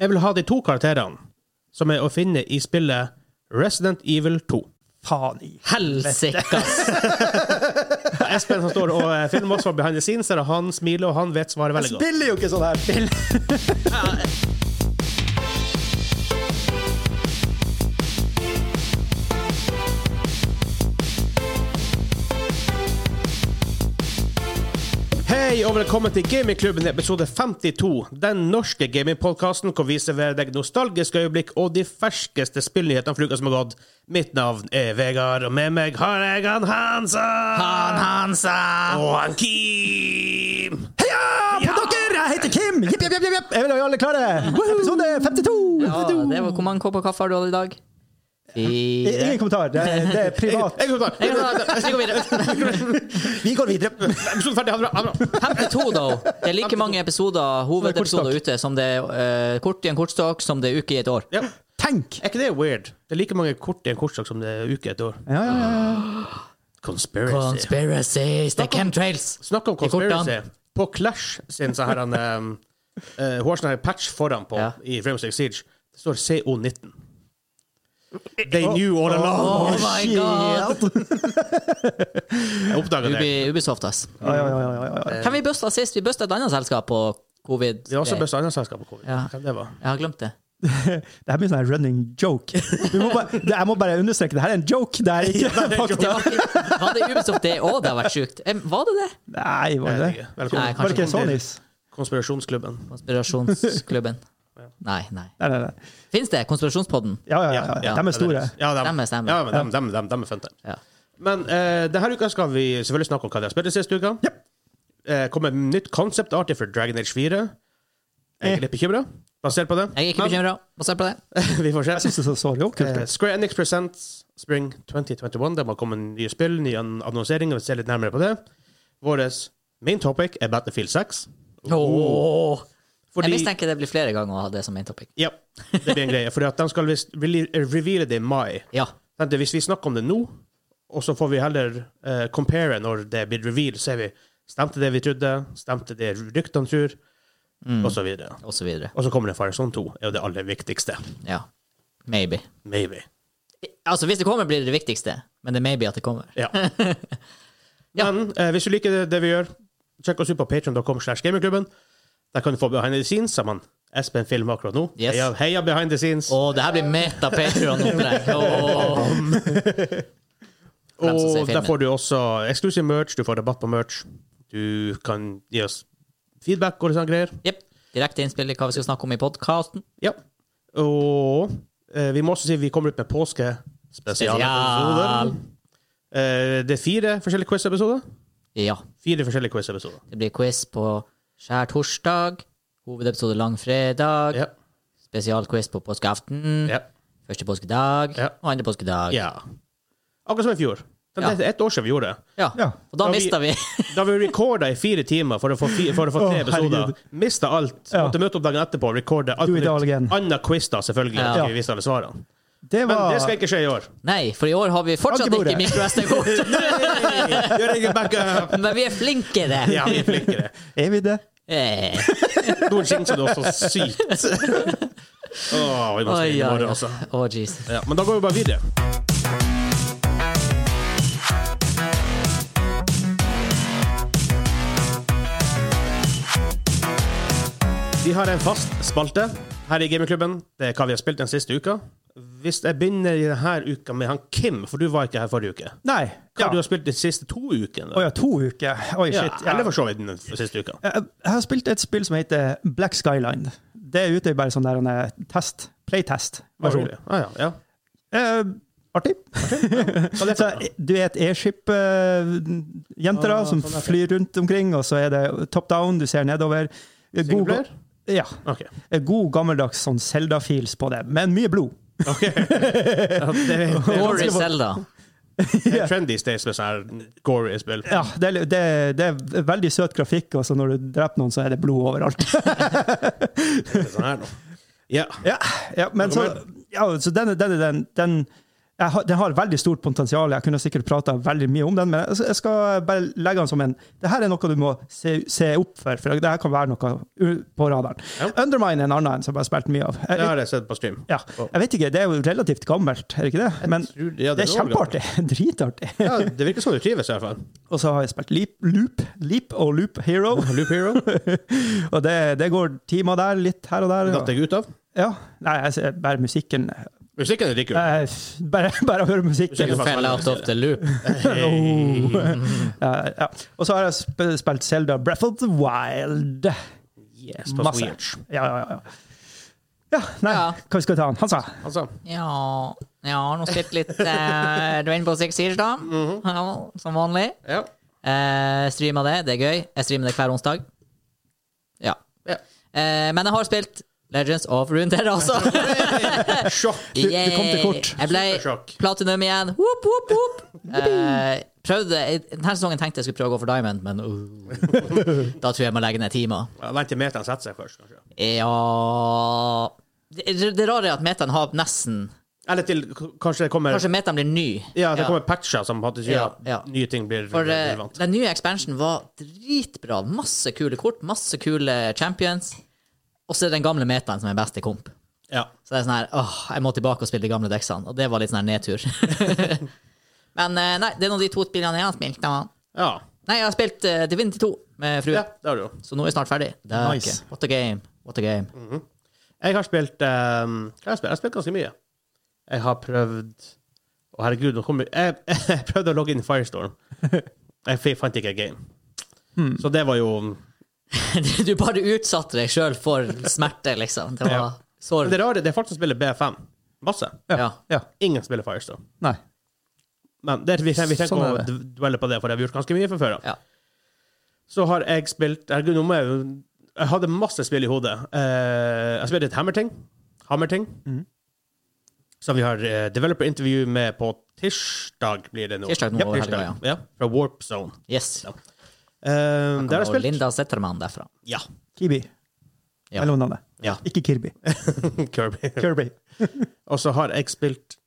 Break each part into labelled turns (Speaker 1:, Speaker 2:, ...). Speaker 1: Jeg vil ha de to karakterene som er å finne i spillet Resident Evil 2.
Speaker 2: Faen i
Speaker 3: Helsikas!
Speaker 1: Espen som står og eh, filmer oss fra behind the scenes, der han smiler og han vet svaret veldig godt.
Speaker 2: Spiller jo ikke sånn her!
Speaker 1: Hei og velkommen til Gamingklubben episode 52, den norske gamingpodkasten hvor vi serverer deg nostalgiske øyeblikk og de ferskeste spillnyhetene for uka som har gått. Mitt navn er Vegard, og med meg har jeg han Hansa
Speaker 3: Han Hansa!
Speaker 1: og han Kim.
Speaker 2: Heia på dere! Jeg heter Kim! Jepp, jepp, jepp, jepp, jepp! Jeg vil ha alle klare! Episode 52!
Speaker 3: Ja, det var, hvor mange kopper kaffe har du hatt i dag?
Speaker 2: I-
Speaker 3: Fire.
Speaker 2: Ingen kommentar. Det er, det er privat.
Speaker 1: Jeg går
Speaker 3: Vi går videre.
Speaker 2: Vi går videre.
Speaker 1: Episode ferdig, ha det bra. Ha det bra.
Speaker 3: 52, da. Det er like mange episoder, hovedepisoder ute som det er eh, kort i en kortstokk som det er uke i et år.
Speaker 1: Ja.
Speaker 2: Tenk!
Speaker 1: Er ikke det weird? Det er like mange kort i en kortsak som det er uke i et år.
Speaker 2: Ja, ja, ja.
Speaker 1: Conspiracy.
Speaker 3: Conspiracies, det er chemtrails.
Speaker 1: Snakk om
Speaker 3: I kortene.
Speaker 1: conspiracy. På Clash sin sånn her han, um, eh, Hun har sånn her patch foran på
Speaker 3: Ja.
Speaker 1: i Frames Like Siege. Det står CO19. They knew all along.
Speaker 3: Oh my god!
Speaker 1: Jeg oppdaga det.
Speaker 3: Ubi, Ubisoft, ass.
Speaker 2: Ja, ja, ja, ja, ja, ja.
Speaker 3: Hvem vi busta sist? Vi busta et annet selskap på covid.
Speaker 1: Vi har også best annet selskap på covid.
Speaker 3: Ja.
Speaker 1: Hvem det var?
Speaker 3: Jeg har glemt det.
Speaker 2: Det her blir en sånn her running joke. Vi må bare, det, jeg må bare understreke, det her er en joke. Det er ikke
Speaker 3: det
Speaker 2: fakta.
Speaker 3: var, ikke- var det Ubisoft det òg? Det har vært sjukt. Em, Var det det?
Speaker 2: Nei, var
Speaker 1: Jeg
Speaker 2: det
Speaker 1: vet
Speaker 2: det?
Speaker 1: ikke. Velkommen.
Speaker 3: Nei, kanskje
Speaker 2: Var det ikke
Speaker 1: Velkommen til
Speaker 2: Sonys?
Speaker 1: Konspirasjonsklubben.
Speaker 3: Konspirasjonsklubben. Nei, nei.
Speaker 2: Nei, nei, nei.
Speaker 3: Fins det? Konspirasjonspodden?
Speaker 2: Ja, ja, ja. ja.
Speaker 1: Ja,
Speaker 2: De er store.
Speaker 1: Ja, dem,
Speaker 3: Stemmer, stemmer.
Speaker 1: Ja, men dem, dem, dem, dem er fun time.
Speaker 3: Ja.
Speaker 1: Men eh, denne uka skal vi selvfølgelig snakke om hva vi har spilt den siste uka. Yep. kommer et nytt concept art for Dragon Age 4. Jeg er litt bekymra, basert på det.
Speaker 3: Jeg er ikke
Speaker 1: Men
Speaker 3: bekymra. Basert på det.
Speaker 1: Vi får se.
Speaker 2: Jeg syns det så jo kult
Speaker 1: Eh,
Speaker 2: ut.
Speaker 1: Square Enix presents Spring 2021. Det må komme nye spill, nye an- annonseringer. Vi ser litt nærmere på det. Vår main topic er Battlefield 6.
Speaker 3: Åh. Jeg
Speaker 1: Fordi,
Speaker 3: mistenker det blir flere ganger å ha det som main topic.
Speaker 1: ja, det blir en greie. Fordi at de skal visst rele- reveale det i mai.
Speaker 3: Ja.
Speaker 1: Tenkte, hvis vi snakker om det nå, og så får vi heller eh, compare når det blir revealed, ser vi stemte det vi trodde, stemte det ryktene tror,
Speaker 3: Mm.
Speaker 1: og så videre.
Speaker 3: Og så videre.
Speaker 1: Og så kommer det Firezone 2, er jo det aller viktigste.
Speaker 3: Ja. Maybe.
Speaker 1: Maybe.
Speaker 3: Altså, hvis det kommer, blir det det viktigste. Men det er maybe at det kommer.
Speaker 1: Ja. Men eh, hvis du liker det, det vi gjør, sjekk oss ut på patreon.com slash gamingklubben. Der kan du få behind the scenes sammen. Espen filmer akkurat nå.
Speaker 3: Yes.
Speaker 1: Heia, heia behind the scenes.
Speaker 3: Åh, det her blir meta-Patron-opplegg. Åh. dem som ser
Speaker 1: og der
Speaker 3: filmen.
Speaker 1: får du også exclusive merch, du får rabatt på merch. Du kan gi oss feedback og litt sånne greier.
Speaker 3: Jepp. Direkte innspill i hva vi skal snakke om i podkasten.
Speaker 1: Ja. Og eh, vi må også si vi kommer ut med påskespesialepisoder. Eh, det er fire forskjellige quiz-episoder.
Speaker 3: Ja.
Speaker 1: Fire forskjellige quiz-episoder.
Speaker 3: Det blir quiz på skjærtorsdag, hovedepisode langfredag,
Speaker 1: Ja.
Speaker 3: spesialquiz på påskeaften,
Speaker 1: Ja.
Speaker 3: første påskedag
Speaker 1: Ja.
Speaker 3: og andre påskedag.
Speaker 1: ja. Akkurat som i fjor. Det
Speaker 3: Ja.
Speaker 1: er ett år siden vi gjorde det.
Speaker 3: Ja.
Speaker 2: Ja.
Speaker 3: Og da
Speaker 1: Da vi-
Speaker 3: mista vi
Speaker 1: Da vi recorda i fire timer for å få, fi, for å få tre
Speaker 2: Å,
Speaker 1: episoder,
Speaker 2: herregud.
Speaker 1: mista alt.
Speaker 2: Ja.
Speaker 1: Måtte møte opp dagen etterpå og recorde alt.
Speaker 2: Do it
Speaker 1: nytt.
Speaker 2: all again.
Speaker 1: Anna quiz, da, selvfølgelig.
Speaker 3: Ja.
Speaker 1: Ja. Vi viste alle svarene.
Speaker 2: Det
Speaker 1: Men det
Speaker 2: var
Speaker 1: skal ikke skje i år.
Speaker 3: Nei, for i år har vi fortsatt
Speaker 2: Ankebordet.
Speaker 3: ikke mikro-SD-kort.
Speaker 1: Gjør ingen backup!
Speaker 3: Men vi er flinkere!
Speaker 1: Ja, vi er flinkere.
Speaker 2: Er vi det?
Speaker 3: Eh,
Speaker 1: Noen jinxer det også sykt. Åh, vi må
Speaker 3: Oi,
Speaker 1: spille i
Speaker 3: ja,
Speaker 1: morgen,
Speaker 3: ja.
Speaker 1: altså.
Speaker 3: Å, Jesus.
Speaker 1: Ja, men da går vi bare videre. Vi har en fast spalte her i Gamingklubben. Det er hva vi har spilt den siste uka. Hvis jeg begynner i denne uka med han Kim, for du var ikke her forrige uke.
Speaker 2: Nei.
Speaker 1: Hva
Speaker 2: Ja.
Speaker 1: du har spilt de siste to ukene?
Speaker 2: Å
Speaker 1: da?
Speaker 2: ja, to uker. Oi,
Speaker 1: Ja,
Speaker 2: shit. Ja.
Speaker 1: Eller for så vidt den siste uka.
Speaker 2: Jeg jeg har spilt et spill som heter Black Skyline. Det er ute i bare sånn der en eh, test. Playtest-versjon.
Speaker 1: Ah, ja, ja.
Speaker 2: Eh, artig.
Speaker 1: Hva er det
Speaker 2: Så,
Speaker 1: for noe?
Speaker 2: du er et e-skip-jenter
Speaker 1: Ah,
Speaker 2: som
Speaker 1: sånn, ja.
Speaker 2: flyr rundt omkring, og så er det top down, du ser nedover. Eh,
Speaker 1: Single
Speaker 2: God,
Speaker 1: player?
Speaker 2: ja.
Speaker 1: Ok.
Speaker 2: eh, god gammeldags sånn Zelda-feels på det, men mye blod.
Speaker 1: Ok. Ja, det, det,
Speaker 3: Glory
Speaker 1: det,
Speaker 3: Zelda.
Speaker 1: det er trendy stays med sånne her gory spill.
Speaker 2: Ja, det, er- det, er- det er veldig søt grafikk, og så når du dreper noen, så er det blod overalt.
Speaker 1: Det er sånn her nå. Ja.
Speaker 2: Ja, ja men så, ja, så den, den, den, den jeg har, den har veldig stort potensial. Jeg kunne sikkert prata veldig mye om den, men jeg- jeg skal bare legge den som en Det her er noe du må se, se opp for, for det her kan være noe u- på radaren.
Speaker 1: Ja.
Speaker 2: Undermine er en annen en som jeg har spilt mye av. Jeg,
Speaker 1: Det har jeg sett på stream.
Speaker 2: ja, jeg vet ikke, det er jo relativt gammelt, er det ikke det? Men
Speaker 1: tror- ja,
Speaker 2: det
Speaker 1: det
Speaker 2: er
Speaker 1: er noe
Speaker 2: kjempeartig. Dritartig.
Speaker 1: Ja, det virker som du trives, i hvert fall.
Speaker 2: Og så har jeg spilt Leap, Loop, Leap og Loop Hero,
Speaker 1: Loop Hero
Speaker 2: og det, det går timer der, litt her og der.
Speaker 1: datt
Speaker 2: Og,
Speaker 1: jeg ut av.
Speaker 2: ja. Nei, jeg ser bare musikken
Speaker 1: Musikken er dritkul.
Speaker 2: Eh, Bare, bare å høre musikken.
Speaker 1: Musikken
Speaker 3: You fell out of the loop.
Speaker 2: Oh. Ja, ja. Og så har jeg sp- spilt Zelda Breath of the Wild.
Speaker 1: Yes, på
Speaker 2: Masse.
Speaker 1: Switch.
Speaker 2: Ja, ja, ja. ja nei,
Speaker 3: Ja.
Speaker 2: hva skal vi ta han? Han sa
Speaker 1: Altså,
Speaker 3: Ja, ja nå spilte litt eh, Rainbow Six Siege, da.
Speaker 1: Mhm.
Speaker 3: ja, som vanlig.
Speaker 1: ja.
Speaker 3: Eh, streamer det, det er gøy. Jeg streamer det hver onsdag. Ja.
Speaker 1: Ja.
Speaker 3: Eh, men jeg har spilt Legends of Runeterra også.
Speaker 1: Sjokk.
Speaker 2: du kom til kort.
Speaker 3: Yay! Jeg ble
Speaker 1: Supersjokk.
Speaker 3: platinum igjen. Whoop, whoop, whoop. Eh, prøvde, Denne sesongen tenkte jeg skulle prøve å gå for diamond, men uh, da tror jeg jeg må legge ned timer.
Speaker 1: Ja, Vent til metaen setter seg først, kanskje.
Speaker 3: Ja Det, det rare er at metaen har nesten
Speaker 1: Eller til k- kanskje det kommer
Speaker 3: Kanskje metaen blir ny.
Speaker 1: Ja, det kommer patcher som faktisk gjør at
Speaker 3: Ja, ja.
Speaker 1: nye ting blir
Speaker 3: For eh,
Speaker 1: relevant.
Speaker 3: den nye expansionen var dritbra. Masse kule kort, masse kule champions. Og så er det den gamle metaen som er best i komp.
Speaker 1: Ja.
Speaker 3: Så det er sånn her åh, jeg må tilbake og spille de gamle deksene. Og det var litt sånn her nedtur. Men eh, nei, det er nå de to spillene jeg har spilt. Da.
Speaker 1: ja.
Speaker 3: Nei, jeg har spilt uh, Divinity 2 med frue,
Speaker 1: Ja, det har du jo.
Speaker 3: så nå er jeg snart ferdig. Det er
Speaker 2: Nice.
Speaker 3: ikke. What a game. What a game.
Speaker 1: Jeg har spilt um, Hva har jeg spilt? Jeg har spilt ganske mye. Jeg har prøvd Å, herregud, nå kommer jeg, jeg prøvde å logge inn i Firestorm. Jeg fi- fant ikke game. Så det var jo Men
Speaker 3: du bare utsatte deg sjøl for smerte, liksom. Det
Speaker 1: Ja.
Speaker 3: var sår.
Speaker 1: Det rare det er folk som spiller B5. Masse.
Speaker 3: Ja.
Speaker 2: Ja.
Speaker 1: Ingen spiller Firestorm.
Speaker 2: Nei.
Speaker 1: Men det, vi, vi trenger
Speaker 2: Sånn
Speaker 1: ikke
Speaker 2: er
Speaker 1: å dv- dvele på det, for det har vi gjort ganske mye fra før av.
Speaker 3: Ja.
Speaker 1: Så har jeg spilt Herregud, nå må jeg jo Jeg hadde masse spill i hodet. Eh, jeg spilte et Hammerting. Hammerting. Som vi har eh, developer interview med på tirsdag, blir det nå.
Speaker 3: Tirsdag nå
Speaker 1: Ja,
Speaker 3: over helga,
Speaker 1: tirsdag. Ja, fra Warp Zone.
Speaker 3: Yes.
Speaker 1: Ja. Eh, det har jeg
Speaker 3: Og
Speaker 1: spilt.
Speaker 3: Linda Zetterman derfra.
Speaker 1: Ja.
Speaker 2: Kibi.
Speaker 3: Ja.
Speaker 2: Eller noe annet.
Speaker 1: Ja.
Speaker 2: Ikke Kirby.
Speaker 1: Kirby.
Speaker 2: Kirby.
Speaker 1: Og så har jeg spilt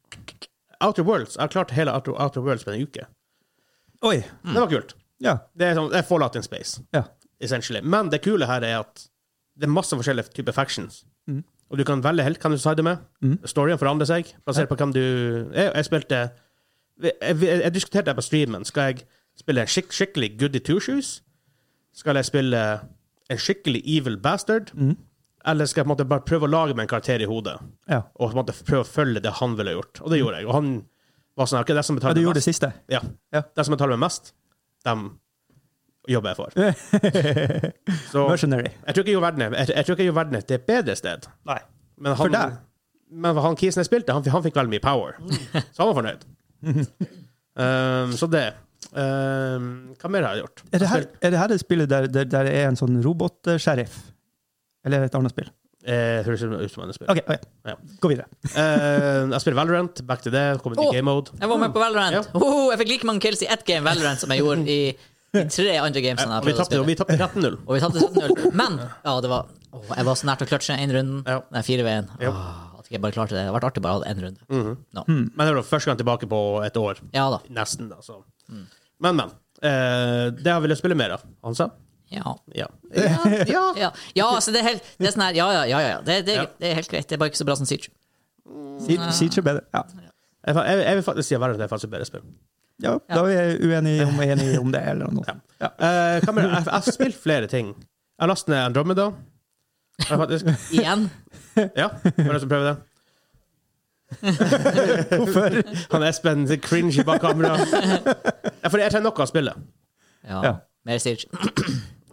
Speaker 1: Outer Worlds. Jeg har klart hele Outer, Outer Worlds på en uke.
Speaker 2: Oi.
Speaker 1: Det var kult.
Speaker 2: Ja.
Speaker 1: Det er, sånn, det er Fallout in Space.
Speaker 2: ja.
Speaker 1: essentially. Men det kule her er at det er masse forskjellige typer factions.
Speaker 2: Mm.
Speaker 1: Og du kan velge helt hvem du sider med. Storyen forandrer seg basert på hvem du Jeg, jeg spilte jeg, jeg, jeg diskuterte det på streamen. Skal jeg spille en skikk, skikkelig goody two-shoes? Skal jeg spille en skikkelig evil bastard?
Speaker 2: Mm.
Speaker 1: Eller skal jeg på en måte bare prøve å lage meg en karakter i hodet?
Speaker 2: ja.
Speaker 1: Og på en måte prøve å følge det han ville gjort? Og det gjorde jeg. Og han var sånn Ok, det som
Speaker 2: ja
Speaker 1: betaler
Speaker 2: du
Speaker 1: meg
Speaker 2: gjorde det
Speaker 1: mest,
Speaker 2: siste?
Speaker 1: ja.
Speaker 2: Ja.
Speaker 1: Det som betaler meg mest, dem jobber jeg for. Så,
Speaker 2: Mercenary.
Speaker 1: jeg tror ikke jo verden er, jeg, jeg tror ikke jo verden er til et bedre sted.
Speaker 2: Nei.
Speaker 1: Men han,
Speaker 2: For deg?
Speaker 1: Men han Kisen jeg spilte, han, han fikk veldig mye power. Så han var fornøyd. Um, så det. Um, hva mer har jeg gjort?
Speaker 2: Er det her, er det, her det spillet der, der, der det er en sånn robotsheriff? Eller et annet spill?
Speaker 1: Eh, høres ut som et spill.
Speaker 2: OK, ok.
Speaker 1: Ja.
Speaker 2: gå videre.
Speaker 1: Eh, jeg spiller Valorant, back to det, kom inn i
Speaker 3: Åh.
Speaker 1: game mode.
Speaker 3: Jeg var med på Valorant.
Speaker 1: Mm. Ja.
Speaker 3: Hoho, jeg fikk like mange kills i ett game Valorant som jeg gjorde i, i tre andre games. enn
Speaker 1: Og
Speaker 3: jeg
Speaker 1: vi
Speaker 3: prøvde å
Speaker 1: tapte og
Speaker 3: spille.
Speaker 1: vi tapte 13-0.
Speaker 3: Og vi tapte 17-0. Men ja, det var, åh, jeg var så nært å kløtsje én runde.
Speaker 1: Ja.
Speaker 3: Nei, fire ved én.
Speaker 1: Ja. Mhm.
Speaker 3: Åh, At jeg bare klarte det. Det hadde vært artig bare å ha én runde. No.
Speaker 1: Men det var første gang tilbake på et år.
Speaker 3: Ja da.
Speaker 1: Nesten, da. Så. Men, men. Eh, det har jeg villet spille mer av. Hansa?
Speaker 3: Ja.
Speaker 1: Ja. Ja, ja.
Speaker 3: Ja, ja altså det er helt det er sånn her, Ja, ja, ja. ja, ja. Det, det,
Speaker 1: Ja.
Speaker 3: det er helt greit. Det er bare ikke så bra som Siege.
Speaker 2: Sier sier ikke bedre. Ja.
Speaker 1: Jeg, fa- jeg, jeg vil faktisk si at Valorant er faktisk et bedre spill.
Speaker 2: ja, da er vi uenige om, enige om det, eller noe. Ja.
Speaker 1: Eh, hva mer? jeg jeg har spilt flere ting. Jeg har lastet ned Andromeda. Har Jeg faktisk.
Speaker 3: Igjen.
Speaker 1: Ja, var det som prøver det?
Speaker 2: Hvorfor?
Speaker 1: Han Espen er cringy bak kamera. Ja, for jeg trenger noe å spille.
Speaker 3: Ja.
Speaker 2: Ja.
Speaker 3: Mer Siege.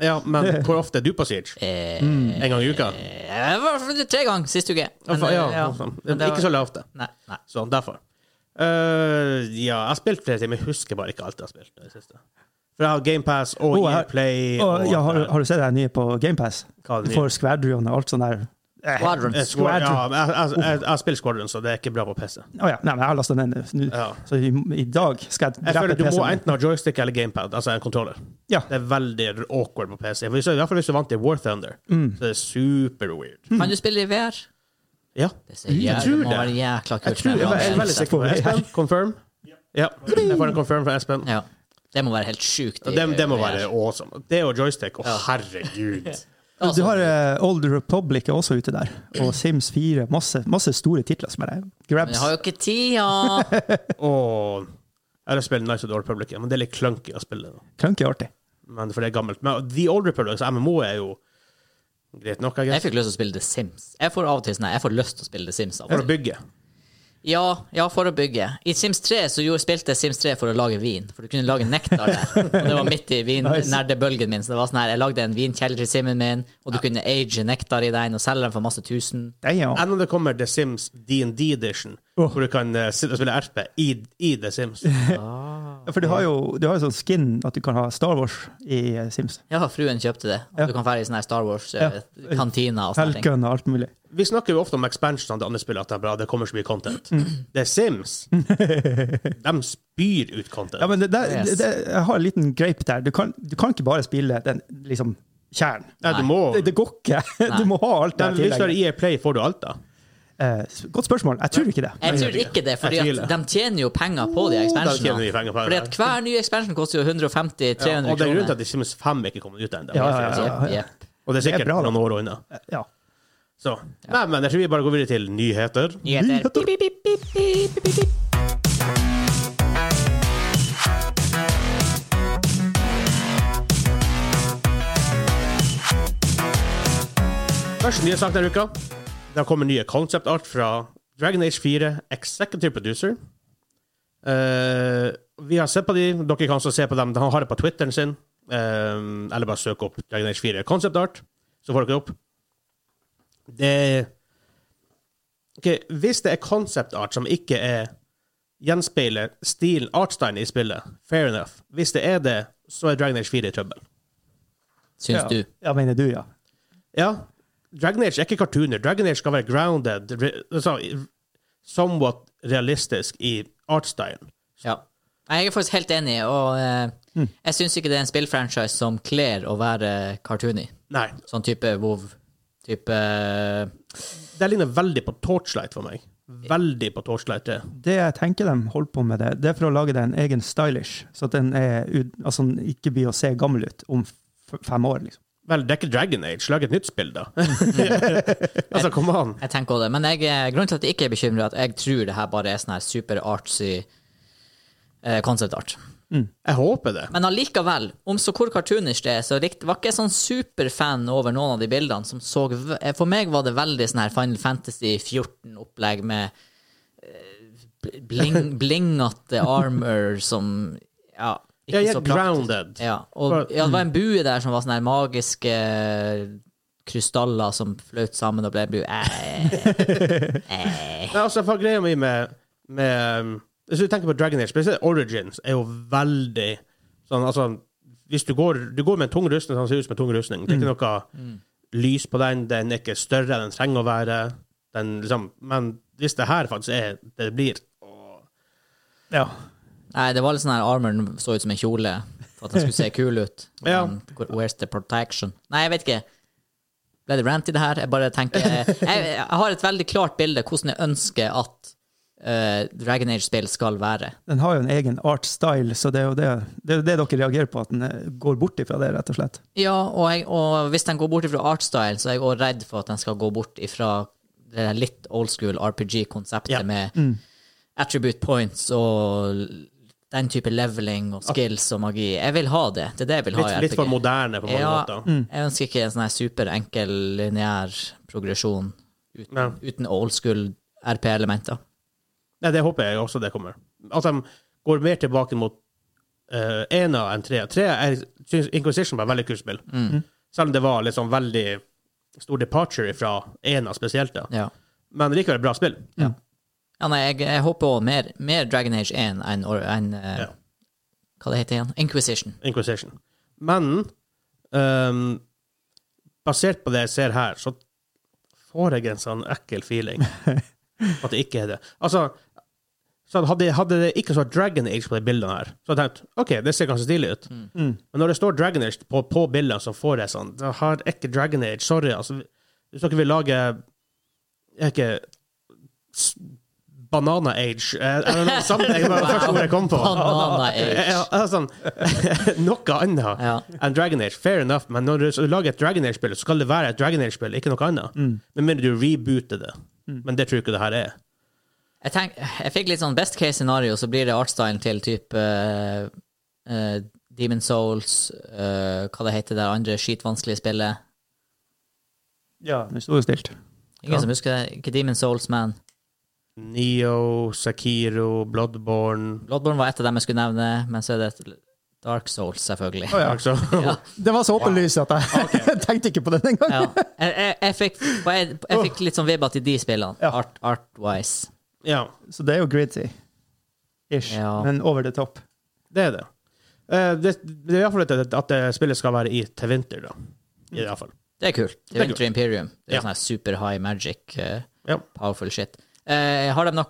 Speaker 1: Ja, men hvor ofte er du på Siege?
Speaker 3: Eh,
Speaker 1: En gang i uka?
Speaker 3: jeg var tre ganger sist uke.
Speaker 1: Ja,
Speaker 3: Men,
Speaker 1: for- ja,
Speaker 3: eh, ja.
Speaker 1: sånn.
Speaker 3: Men det
Speaker 1: Ikke
Speaker 3: var-
Speaker 1: så ofte.
Speaker 3: Nei. nei.
Speaker 1: Sånn, derfor. Eh, ja, jeg har spilt flere ting, men jeg husker bare ikke alt jeg har spilt. i Det siste. For jeg har GamePass og
Speaker 2: Å, jeg har-
Speaker 1: Earplay
Speaker 2: Og, ja, har,
Speaker 1: alt det her.
Speaker 2: har du sett det nye på GamePass?
Speaker 1: Hva er det nye?
Speaker 2: For Squadron og alt sånt der.
Speaker 3: Squadrons.
Speaker 1: Eh, Squad- Ja, men jeg, jeg, jeg, jeg har spilt Squadron, så det er ikke bra på PC.
Speaker 2: Å ja. Nei, men jeg har lasta den ned nå.
Speaker 1: Ja.
Speaker 2: Så i, i dag skal jeg
Speaker 1: Jeg føler
Speaker 2: drepe
Speaker 1: Du må
Speaker 2: PC-en.
Speaker 1: enten ha joystick eller gamepad, altså en kontroller.
Speaker 2: Ja.
Speaker 1: Det er veldig awkward på
Speaker 2: Mm.
Speaker 1: PC. For hvis- I hvert fall hvis du er vant til War Thunder. Så det er super weird.
Speaker 3: Kan du spille i VR?
Speaker 1: Ja.
Speaker 3: Det, ser jævlig,
Speaker 1: tror
Speaker 3: det må
Speaker 1: det.
Speaker 3: være jækla
Speaker 1: Jeg,
Speaker 3: kult.
Speaker 1: tror,
Speaker 3: med
Speaker 1: jeg, er
Speaker 3: en
Speaker 1: veldig
Speaker 3: anmeldelse.
Speaker 1: sikker på det. Espen, confirm? Ja. Jeg får en confirm fra Espen.
Speaker 3: Ja. Det må være helt sjukt. i-
Speaker 1: Det, det må
Speaker 3: i-
Speaker 1: være awesome. Det og joystick. Å,
Speaker 3: Ja.
Speaker 1: herregud.
Speaker 3: Altså,
Speaker 2: Du har eh, Old Republic er også ute der, og Sims 4. Masse, masse store titler som er der.
Speaker 3: men
Speaker 2: Grabs.
Speaker 3: jeg har jo ikke tida!
Speaker 1: Og jeg har spilt Nice of the Old Republic, men det er litt clunky å spille. Da.
Speaker 2: Krønke er artig.
Speaker 1: Men for det er gammelt. Men The Old Republic, altså så MMO, er jo greit nok, jeg
Speaker 3: Jeg
Speaker 1: guess.
Speaker 3: fikk lyst til å spille The Sims. Jeg får av og til sånn her, jeg får lyst til å spille The Sims. Av
Speaker 1: For
Speaker 3: og
Speaker 1: å
Speaker 3: til.
Speaker 1: bygge.
Speaker 3: Ja, ja, for å bygge. I Sims 3 så gjorde, spilte jeg Sims 3 for å lage vin, for du kunne lage nektar der. Og det var midt i vin,
Speaker 2: Nice.
Speaker 3: nerdebølgen min, så det var sånn her, jeg lagde en vinkjeller til Simen min, og du kunne age nektar i den og selge den for masse tusen.
Speaker 2: Damn.
Speaker 1: Enn om det kommer The Sims D&D Edition,
Speaker 2: Åh.
Speaker 1: hvor du kan eh, sitte og spille RP i, i The Sims.
Speaker 2: Ja, For du har, jo, du har jo sånn skin at du kan ha Star Wars i eh, Sims.
Speaker 3: Ja, fruen kjøpte det.
Speaker 2: Ja.
Speaker 3: Du kan fære i sånn her Star
Speaker 2: Ja.
Speaker 3: Wars-kantina og sånne ting.
Speaker 2: Falcon og alt mulig.
Speaker 1: Vi snakker jo ofte om expansionene til andre spill, at det, er bra, det kommer så mye content.
Speaker 2: Mm.
Speaker 1: The Sims, de spyr ut content.
Speaker 2: Ja, men det, der-
Speaker 3: Yes.
Speaker 2: det, det, jeg har en liten grape der. Du kan, du kan ikke bare spille den liksom kjernen.
Speaker 1: Nei, du
Speaker 3: Nei.
Speaker 1: må...
Speaker 2: Det, det går ikke. Du må ha
Speaker 1: Nei,
Speaker 2: alt det
Speaker 1: men hvis du har
Speaker 2: tillegget.
Speaker 1: EA Play, får du alt, da.
Speaker 2: Eh, godt spørsmål. Jeg tror ikke det.
Speaker 3: Jeg tror ikke det, fordi
Speaker 1: Jeg
Speaker 3: at
Speaker 1: tviler. Oh,
Speaker 3: de tjener jo penger på
Speaker 1: Da
Speaker 3: de
Speaker 1: tjener de
Speaker 3: ekspansjonene.
Speaker 1: penger på
Speaker 3: Fordi at
Speaker 1: det.
Speaker 3: hver nye expansion koster jo 150-300
Speaker 1: Ja, og det er grunnen til
Speaker 3: kroner.
Speaker 1: at The Sims 5 ikke kommer ut ennå.
Speaker 2: Ja, ja, ja, ja.
Speaker 3: Jepp, jepp.
Speaker 1: Og det er
Speaker 2: Det er
Speaker 1: sikkert
Speaker 2: bra, da.
Speaker 1: noen år unna.
Speaker 2: Ja.
Speaker 1: Så. Nei, men jeg tror vi bare går videre til nyheter.
Speaker 3: Nyheter.
Speaker 2: Nyheter.
Speaker 3: Pip, pip, pip, pip, pip, pip.
Speaker 1: Første nye sak denne uka. Det kommer nye concept art fra Dragon Age 4 Executive Producer. Eh, vi har sett på de. Dere kan også se på dem. Han har det på Twitteren sin. Eh, eller bare søk opp Dragon Age 4 concept art, så får dere opp. Det Ok, Hvis det er concept art som ikke er gjenspeiler stilen, artstylen i spillet, fair enough. Hvis det er det, så er Dragon Age 4 i trøbbel.
Speaker 3: Syns
Speaker 2: ja.
Speaker 3: du?
Speaker 2: Ja, mener du, ja.
Speaker 1: Ja. Dragon Age er ikke cartooner. Dragon Age skal være grounded, re, altså, somewhat realistisk i artstylen.
Speaker 3: Ja. Nei, Jeg er faktisk helt enig, og eh, jeg syns ikke det er en spillfranchise som kler å være cartoony.
Speaker 1: Nei.
Speaker 3: Sånn type WoW. Type eh,
Speaker 1: Det ligner veldig på Torchlight for meg. Veldig på Torchlight 3.
Speaker 2: Det jeg tenker de holder på med det, det er for å lage den egen stylish, så at den er, ut- altså, den ikke blir å se gammel ut om f fem år, liksom.
Speaker 1: Vel, det er ikke Dragon Age. Lag et nytt spill, da. altså, kom an.
Speaker 3: Jeg tenker også det. Men jeg, eh, grunnen til at jeg ikke er bekymra, er at jeg tror det her bare er sånn her super artsy eh, concept art.
Speaker 1: Jeg håper det.
Speaker 3: Men allikevel, om så hvor cartoonish det er, så rikt, var ikke jeg sånn superfan over noen av de bildene som så v- eh, For meg var det veldig sånn her Final Fantasy 14-opplegg med eh, bling, blingete armor som Ja. Mm. ikke
Speaker 1: Jeg
Speaker 3: så
Speaker 1: er
Speaker 3: praktisk.
Speaker 1: grounded.
Speaker 3: Ja, og ja, det var en bue der som var sånne her magiske eh, krystaller som fløt sammen og ble en bue. Eh, eh.
Speaker 1: Nei, altså, for greia mi med, med um, Hvis du tenker på Dragon Age, spesielt Origins, er jo veldig sånn Altså, hvis du går, du går med en tung rustning, sånn ser ut som en tung rustning. Det er
Speaker 3: Mm.
Speaker 1: ikke noe lys på den, den er ikke større enn den trenger å være. Den, liksom, men hvis det her faktisk er det det blir
Speaker 2: Ja.
Speaker 3: Nei, det var litt sånn her armoren så ut som en kjole for at den skulle se kul ut.
Speaker 1: Ja.
Speaker 3: Men, Where's the protection? Nei, jeg vet ikke. Ble det rant i det her? Jeg bare tenker Jeg, jeg har et veldig klart bilde hvordan jeg ønsker at eh, Dragon Age-spill skal være.
Speaker 2: Den har jo en egen art style, så det er jo det, det, er jo det dere reagerer på, at den eh, går bort ifra det, rett og slett.
Speaker 3: Ja, og, jeg, og hvis den går bort ifra artstyle, så er jeg også redd for at den skal gå bort ifra det der litt old school RPG-konseptet
Speaker 1: Ja. Mm.
Speaker 3: med attribute points og l- den type leveling og skills og magi. Jeg vil ha det. Det er det jeg vil ha
Speaker 1: litt,
Speaker 3: i
Speaker 1: litt for
Speaker 3: RPG.
Speaker 1: moderne på mange
Speaker 3: Ja,
Speaker 1: måter.
Speaker 3: jeg ønsker ikke en sånn her super enkel, lineær progresjon uten,
Speaker 1: Ja.
Speaker 3: uten old school RP-elementer.
Speaker 1: Nei, det håper jeg også det kommer. At de går mer tilbake mot uh, ena enn trea. Trea jeg synes Inquisition var et veldig kult spill. Selv om det var liksom veldig stor departure fra ena spesielt. da.
Speaker 3: Ja.
Speaker 1: Men likevel et bra spill.
Speaker 3: Ja, nei, jeg, jeg håper også mer, mer Dragon Age 1 enn enn, eh,
Speaker 1: Ja.
Speaker 3: Hva det heter igjen? Inquisition.
Speaker 1: Inquisition. Men ehm, basert på det jeg ser her, så får jeg en sånn ekkel feeling at det ikke er det. Altså, så hadde, hadde det ikke stått Dragon Age på de bildene her, så hadde jeg tenkt OK, det ser ganske stilig ut.
Speaker 3: Mm.
Speaker 1: Men når det står Dragon Age på, på bildene, så får jeg sånn Det har ikke Dragon Age. Sorry, altså. Hvis dere vil lage er ikke s- Banana Age. Eh, I don't know, sammenheng var det første ordet jeg kom på.
Speaker 3: Banana Age.
Speaker 1: Ja, altså, noe annet
Speaker 3: Ja.
Speaker 1: enn Dragon Age. Fair enough, men når du, så du lager et Dragon Age-spill, så skal det være et Dragon Age-spill, ikke noe annet.
Speaker 2: Mm.
Speaker 1: Med mindre du rebooter det.
Speaker 3: Mm.
Speaker 1: Men det tror jeg ikke det her er.
Speaker 3: Jeg, tenk, jeg fikk litt sånn best case scenario, så blir det artstylen til type eh, eh, Demon Souls, eh, hva det heter det andre skitvanskelige spillet.
Speaker 2: Ja, nå sto det stilt.
Speaker 3: Ingen
Speaker 2: Ja.
Speaker 3: som husker det? Ikke Demon Souls, men
Speaker 1: Neo, Sakiro, Bloodborne
Speaker 3: Bloodborne var et av dem jeg skulle nevne, men så er det et Dark Souls, selvfølgelig.
Speaker 2: Å, ja.
Speaker 1: altså.
Speaker 2: Det var så åpenlyst at jeg tenkte ikke på den engang.
Speaker 3: Ja. Jeg, jeg, jeg, fikk, jeg, jeg fikk litt sånn vibba til de spillene,
Speaker 2: Ja.
Speaker 3: art, art-wise.
Speaker 1: Ja,
Speaker 2: Så det er jo gritty. Ish.
Speaker 3: Ja.
Speaker 2: Men over the top.
Speaker 1: det er det. Eh, Det, det er iallfall at, at det spillet skal være i til vinter, da. I hvert fall.
Speaker 3: Det er kult. Det
Speaker 1: Det er
Speaker 3: er Winter Imperium. Det er
Speaker 1: Ja.
Speaker 3: sånn her super high magic, eh,
Speaker 1: Ja.
Speaker 3: powerful shit. Eh, har de noe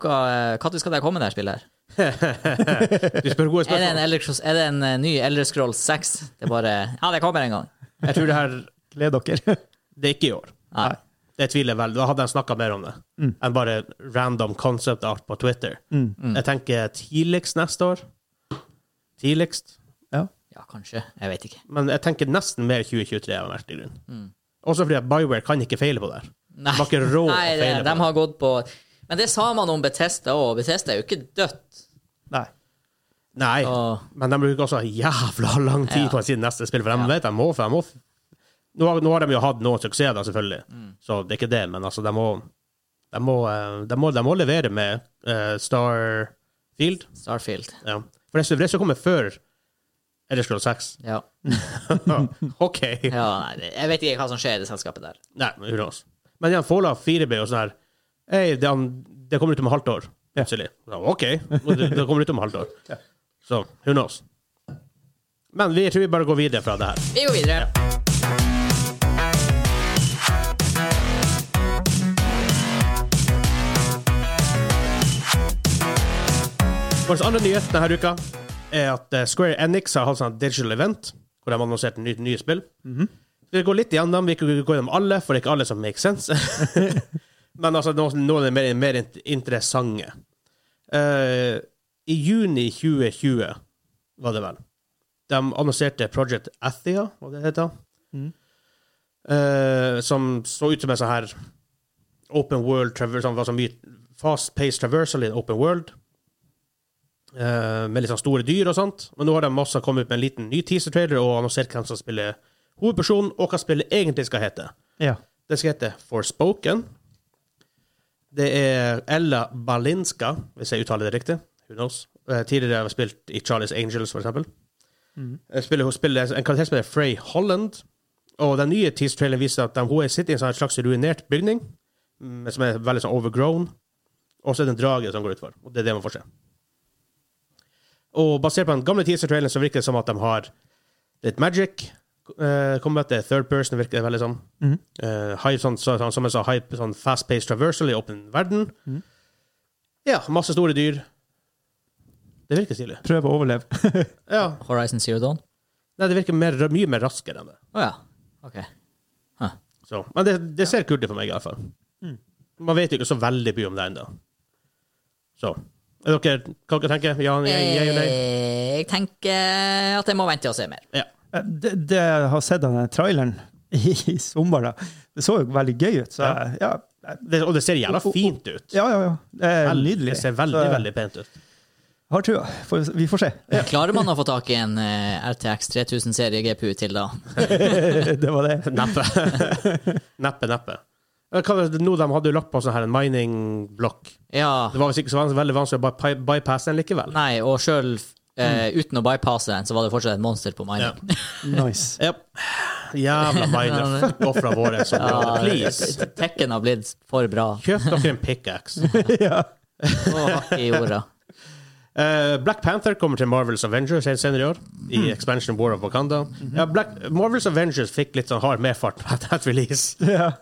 Speaker 3: Når skal det komme, det her spillet? her?
Speaker 1: Du spør gode
Speaker 3: Er det en,
Speaker 1: spørsmål.
Speaker 3: Elder Scrolls- er det en eh, ny Elder Scrolls 6? Det er bare Ja, det kommer en gang.
Speaker 1: Jeg tror det her
Speaker 2: Gled dere.
Speaker 1: Det er ikke i år.
Speaker 3: Nei.
Speaker 1: Det tviler jeg vel. Da hadde jeg snakka mer om det
Speaker 3: Mm.
Speaker 1: enn bare random concept art på Twitter.
Speaker 2: Mm.
Speaker 3: Mm.
Speaker 1: Jeg tenker tidligst neste år. Tidligst.
Speaker 2: Ja.
Speaker 3: Ja, kanskje. Jeg vet ikke.
Speaker 1: Men jeg tenker nesten mer 2023 av en merkelig grunn.
Speaker 3: Mm.
Speaker 1: Også fordi at Bioware kan ikke feile på det. her.
Speaker 3: Nei,
Speaker 1: Var ikke råd å
Speaker 3: Nei det,
Speaker 1: feile på
Speaker 3: de
Speaker 1: det.
Speaker 3: har gått på Men det sa man om Betesta òg. Betesta er jo ikke dødt.
Speaker 2: Nei.
Speaker 1: Nei,
Speaker 3: Åh.
Speaker 1: men de bruker også jævla lang tid
Speaker 3: Ah. Ja.
Speaker 1: på sin neste spill, for de
Speaker 3: Ja.
Speaker 1: vet de må. For de må f- nå, har- nå har de jo hatt noen suksess, da, selvfølgelig,
Speaker 3: Mm.
Speaker 1: så det er ikke det, men altså, de må De må, eh, de må, de må levere med eh, Starfield.
Speaker 3: Starfield.
Speaker 1: Ja. For det som- det som kommer før Eller Scroll 6.
Speaker 3: Ja.
Speaker 1: OK.
Speaker 3: ja nei, det- jeg vet ikke hva som skjer i det selskapet der.
Speaker 1: Nei, who knows. Men igjen, Fallout 4 ble jo sånn her Hei, det, det kommer ut om et halvt år.
Speaker 2: Ja.
Speaker 1: Plutselig. Ja, OK, det, det kommer ut om et halvt år. Så who knows. Men vi tror vi bare går videre fra det her.
Speaker 3: Vi går videre.
Speaker 1: Vår andre nyhet denne uka er at eh, Square Enix har hatt sånn digital event, hvor de har annonsert nye, nye spill. Vi går litt igjennom, vi kan ikke gå gjennom alle, for det er ikke alle som makes sense. Men altså, noen, noen er mer, mer int- interessante. Eh, I juni 2020, var det vel, de annonserte Project Athea, hva det heter, Eh, som så ut som en sånn her open world, traver- sånn, var så mye fast-paced traversal i en open world. Eh, med litt sånn store dyr og sånt. Men nå har de også kommet ut med en liten ny teaser-trailer og annonsert hvem som spiller hovedpersonen, og hva spillet egentlig skal hete.
Speaker 2: Ja.
Speaker 1: Det skal hete Forspoken. Det er Ella Balinska, hvis jeg uttaler det riktig. Who knows? Eh, Tidligere har jeg spilt i Charlie's Angels, for eksempel. Jeg Spiller, hun spiller en karakter som heter Frey Holland. Og den nye teaser-traileren viser at de, hun sitter i en sånn slags ruinert bygning, mm, som er veldig sånn overgrown. Og så er det en drage som går utfor. Og det er det man får se. Og basert på den gamle teaser-traileren så virker det som at de har litt magic. Uh, combat det er third person, virker det veldig sånn.
Speaker 2: Mhm.
Speaker 1: Eh, hype, sånn, så, sånn som jeg sa, hype, sånn fast-paced traversal i åpen verden.
Speaker 2: Mhm.
Speaker 1: Ja, masse store dyr. Det virker stilig.
Speaker 2: Prøv å overleve.
Speaker 1: Ja.
Speaker 3: Horizon Zero Dawn.
Speaker 1: Nei, det virker mer, mye mer raskere enn det.
Speaker 3: Å ja. OK. Huh.
Speaker 1: Så. Men det, det ser kult ut for meg, i hvert fall.
Speaker 2: Mhm.
Speaker 1: Man vet jo ikke så veldig mye om det ennå. Så. Er dere, hva dere tenker dere? Ja, ja, ja, ja, nei?
Speaker 3: Eh, Jeg tenker at jeg må vente og se mer.
Speaker 1: ja.
Speaker 2: Eh, Det, det jeg har sett av den traileren i sommer, da. det så jo veldig gøy ut. Så jeg- ja,
Speaker 1: Det, og det ser jævla fint ut.
Speaker 2: ja, ja. ja. Det er
Speaker 1: Veldig-
Speaker 2: nydelig.
Speaker 1: Det ser veldig,
Speaker 2: Så,
Speaker 1: veldig pent ut.
Speaker 2: Har trua. Får- Vi får se.
Speaker 3: Klarer man å få tak i en eh, RTX 3000-serie GPU til da?
Speaker 2: Det var det.
Speaker 1: Neppe. neppe, neppe. Eh, Hva, var det- nå de hadde jo lagt på sånn her en mining-blokk.
Speaker 3: Ja.
Speaker 1: Det var visst ikke så vanskelig, veldig vanskelig å bare by- bypasse den likevel.
Speaker 3: Nei, og sjøl eh, uten å bypasse den, så var det fortsatt et monster på
Speaker 1: Ja.
Speaker 3: mining.
Speaker 2: Nice.
Speaker 1: Yep. Jævla miner. Fuck ofra våre. som
Speaker 3: Ja,
Speaker 1: gjør det. Please.
Speaker 3: det- Tekken har blitt for bra.
Speaker 1: Kjøp dere en pickaxe.
Speaker 2: ja.
Speaker 3: Og hakk i jorda.
Speaker 1: Eh, Black Panther kommer til Marvels Avengers helt senere i år. I
Speaker 2: Mhm.
Speaker 1: Expansion War of Wakanda. ja, Black, Marvels Avengers fikk litt sånn hard medfart etter et release.
Speaker 2: ja.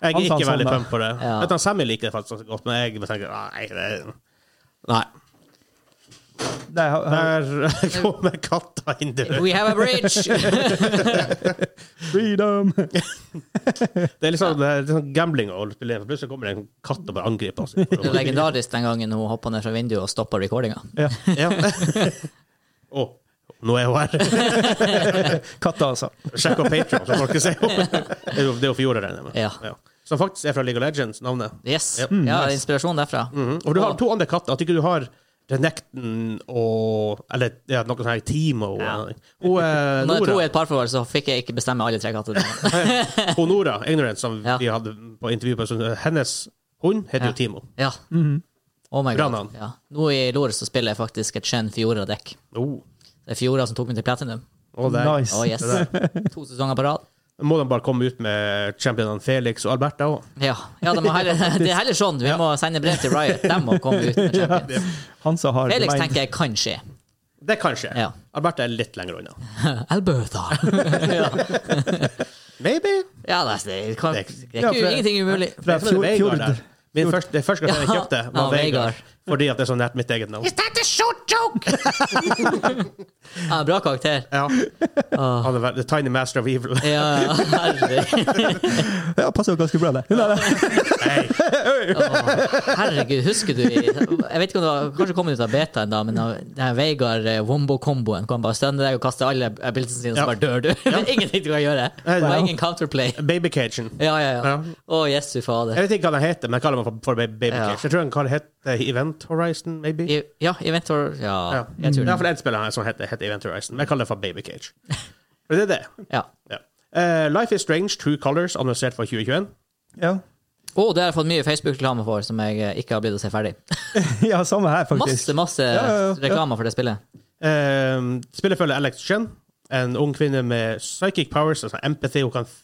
Speaker 1: Jeg er
Speaker 2: Han sa
Speaker 1: ikke
Speaker 2: sånn,
Speaker 1: veldig
Speaker 2: da.
Speaker 1: pump på det.
Speaker 3: Ja.
Speaker 1: Vet du, han Sammy liker det faktisk ganske godt, men jeg tenker nei. Det, nei.
Speaker 2: Nei, ha- ha-
Speaker 1: Der kommer katta inn døren.
Speaker 3: We have a bridge!
Speaker 2: freedom!
Speaker 1: Det er litt sånn, det er litt sånn gambling å spille inn, for plutselig kommer det en katt og bare angriper oss.
Speaker 3: Det er legendarisk den gangen hun hoppa ned fra vinduet og stoppa recordinga.
Speaker 2: Ja,
Speaker 1: Ja. Å, nå er hun her.
Speaker 2: katta, altså.
Speaker 1: Sjekk opp Patreon så folk kan se henne. Det er jo- det er jo Fjorda, regner jeg med.
Speaker 3: Ja.
Speaker 1: Som faktisk er fra League of Legends, navnet.
Speaker 3: Yes.
Speaker 1: Ja.
Speaker 3: ja, inspirasjon derfra.
Speaker 1: Mhm. Og du har to andre katter. At ikke du har Renekton og Eller ja, noe sånn her Timo.
Speaker 3: Ja.
Speaker 1: Og, og, eh,
Speaker 3: Når det to
Speaker 1: Nora,
Speaker 3: er et parforhold, så fikk jeg ikke bestemme alle tre kattene.
Speaker 1: og Nora Ignorant, som
Speaker 3: Ja.
Speaker 1: vi hadde på intervju på, så hennes hund heter
Speaker 3: Ja.
Speaker 1: jo Timo.
Speaker 3: Ja. Oh my
Speaker 1: Bra
Speaker 3: god.
Speaker 1: navn.
Speaker 3: Ja. Nå i lår så spiller jeg faktisk et Chen Fiora-dekk.
Speaker 1: Oh.
Speaker 3: Det er Fiora som tok meg til platinum.
Speaker 1: Og der
Speaker 2: Nice.
Speaker 3: Oh, yes. To sesonger på rad.
Speaker 1: må de bare komme ut med championene Felix og Alberta òg.
Speaker 3: Ja, ja det, må heller, det er heller sånn. Vi må sende brev til Riot. De må komme ut med champions.
Speaker 2: Han som har
Speaker 3: Felix
Speaker 2: mind-
Speaker 3: tenker jeg kan skje.
Speaker 1: Det kan skje.
Speaker 3: Ja.
Speaker 1: Alberta er litt lenger unna.
Speaker 3: Alberta. ja,
Speaker 1: Maybe.
Speaker 3: ja det, er- det, kan, det er
Speaker 2: Ja,
Speaker 3: ikke,
Speaker 2: for-
Speaker 3: ingenting umulig.
Speaker 1: For jeg tror det er
Speaker 2: Fjord-
Speaker 1: Vegard der.
Speaker 2: Fjord.
Speaker 1: Min første, det første gangen jeg
Speaker 3: Ja.
Speaker 1: kjøpte,
Speaker 3: Ja,
Speaker 1: var
Speaker 3: Vegard.
Speaker 1: Vegard. Fordi at det er så nært mitt eget navn.
Speaker 3: Is that a short joke? ja, bra karakter.
Speaker 1: Ja.
Speaker 3: Ah.
Speaker 1: Han er vel- The Tiny Master of Evil.
Speaker 3: Ja, ja, herregud.
Speaker 2: Ja, passer jo ganske bra, det. Nei, nei.
Speaker 1: Hey.
Speaker 3: herregud. Husker du i Jeg vet ikke om det var Kanskje kom det ut av betaen, da, men av den her Vegard eh, Wombo-komboen kan bare stønne deg og kaste alle abilitene sine,
Speaker 1: Ja.
Speaker 3: så bare dør du. Det er ingenting du kan gjøre. Det var ingen counterplay.
Speaker 1: Baby Cajun.
Speaker 3: Ja, ja, ja.
Speaker 1: Ja.
Speaker 3: Å, jesu fader.
Speaker 1: Jeg vet ikke hva den heter, men jeg kaller den for, for Baby
Speaker 3: Ja.
Speaker 1: Cajun. Jeg tror den kaller heter Event Horizon, maybe.
Speaker 3: I, ja, Inventor Ja.
Speaker 1: Ja.
Speaker 3: Jeg
Speaker 1: Det er
Speaker 3: tror det.
Speaker 1: iallfall én spiller her som heter, heter Event Horizon, men jeg kaller den for Baby Cage. For det er det.
Speaker 3: Ja.
Speaker 1: Ja. Eh, Life is Strange, True Colors, annonsert for 2021.
Speaker 2: Ja.
Speaker 3: Å, det har jeg fått mye Facebook-reklame for som jeg eh, ikke har blitt å se ferdig.
Speaker 2: ja, samme her, faktisk.
Speaker 3: Masse, masse
Speaker 2: ja, ja.
Speaker 3: reklamer for det spillet.
Speaker 1: Eh, spillet følger Alex Chen, en ung kvinne med psychic powers, altså empathy. Hun kan f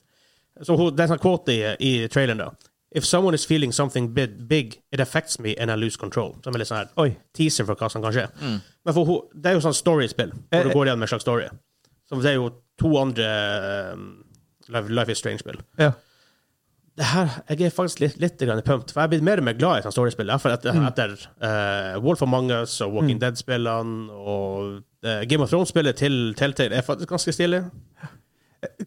Speaker 1: så hun, det er en sånn quote i, i traileren, da. If someone is feeling something big, big, it affects me and I lose control. Som er litt sånn her
Speaker 2: Oi.
Speaker 1: teaser for hva som kan skje. Men for hun, det er jo sånn storiespill,
Speaker 2: Mm. Eh,
Speaker 1: hvor du går igjen med en slags story. Så det er jo to andre eh, Life, Life is Strange-spill.
Speaker 2: Ja.
Speaker 1: Det her, Jeg er faktisk litt, litt grann pumped, for jeg er blitt mer og mer glad i sånne storiespill. Derfor etter, etter eh, Wolf Among Us og Walking Dead-spillene og eh, Game of Thrones-spillet til Telltale er faktisk ganske stilig.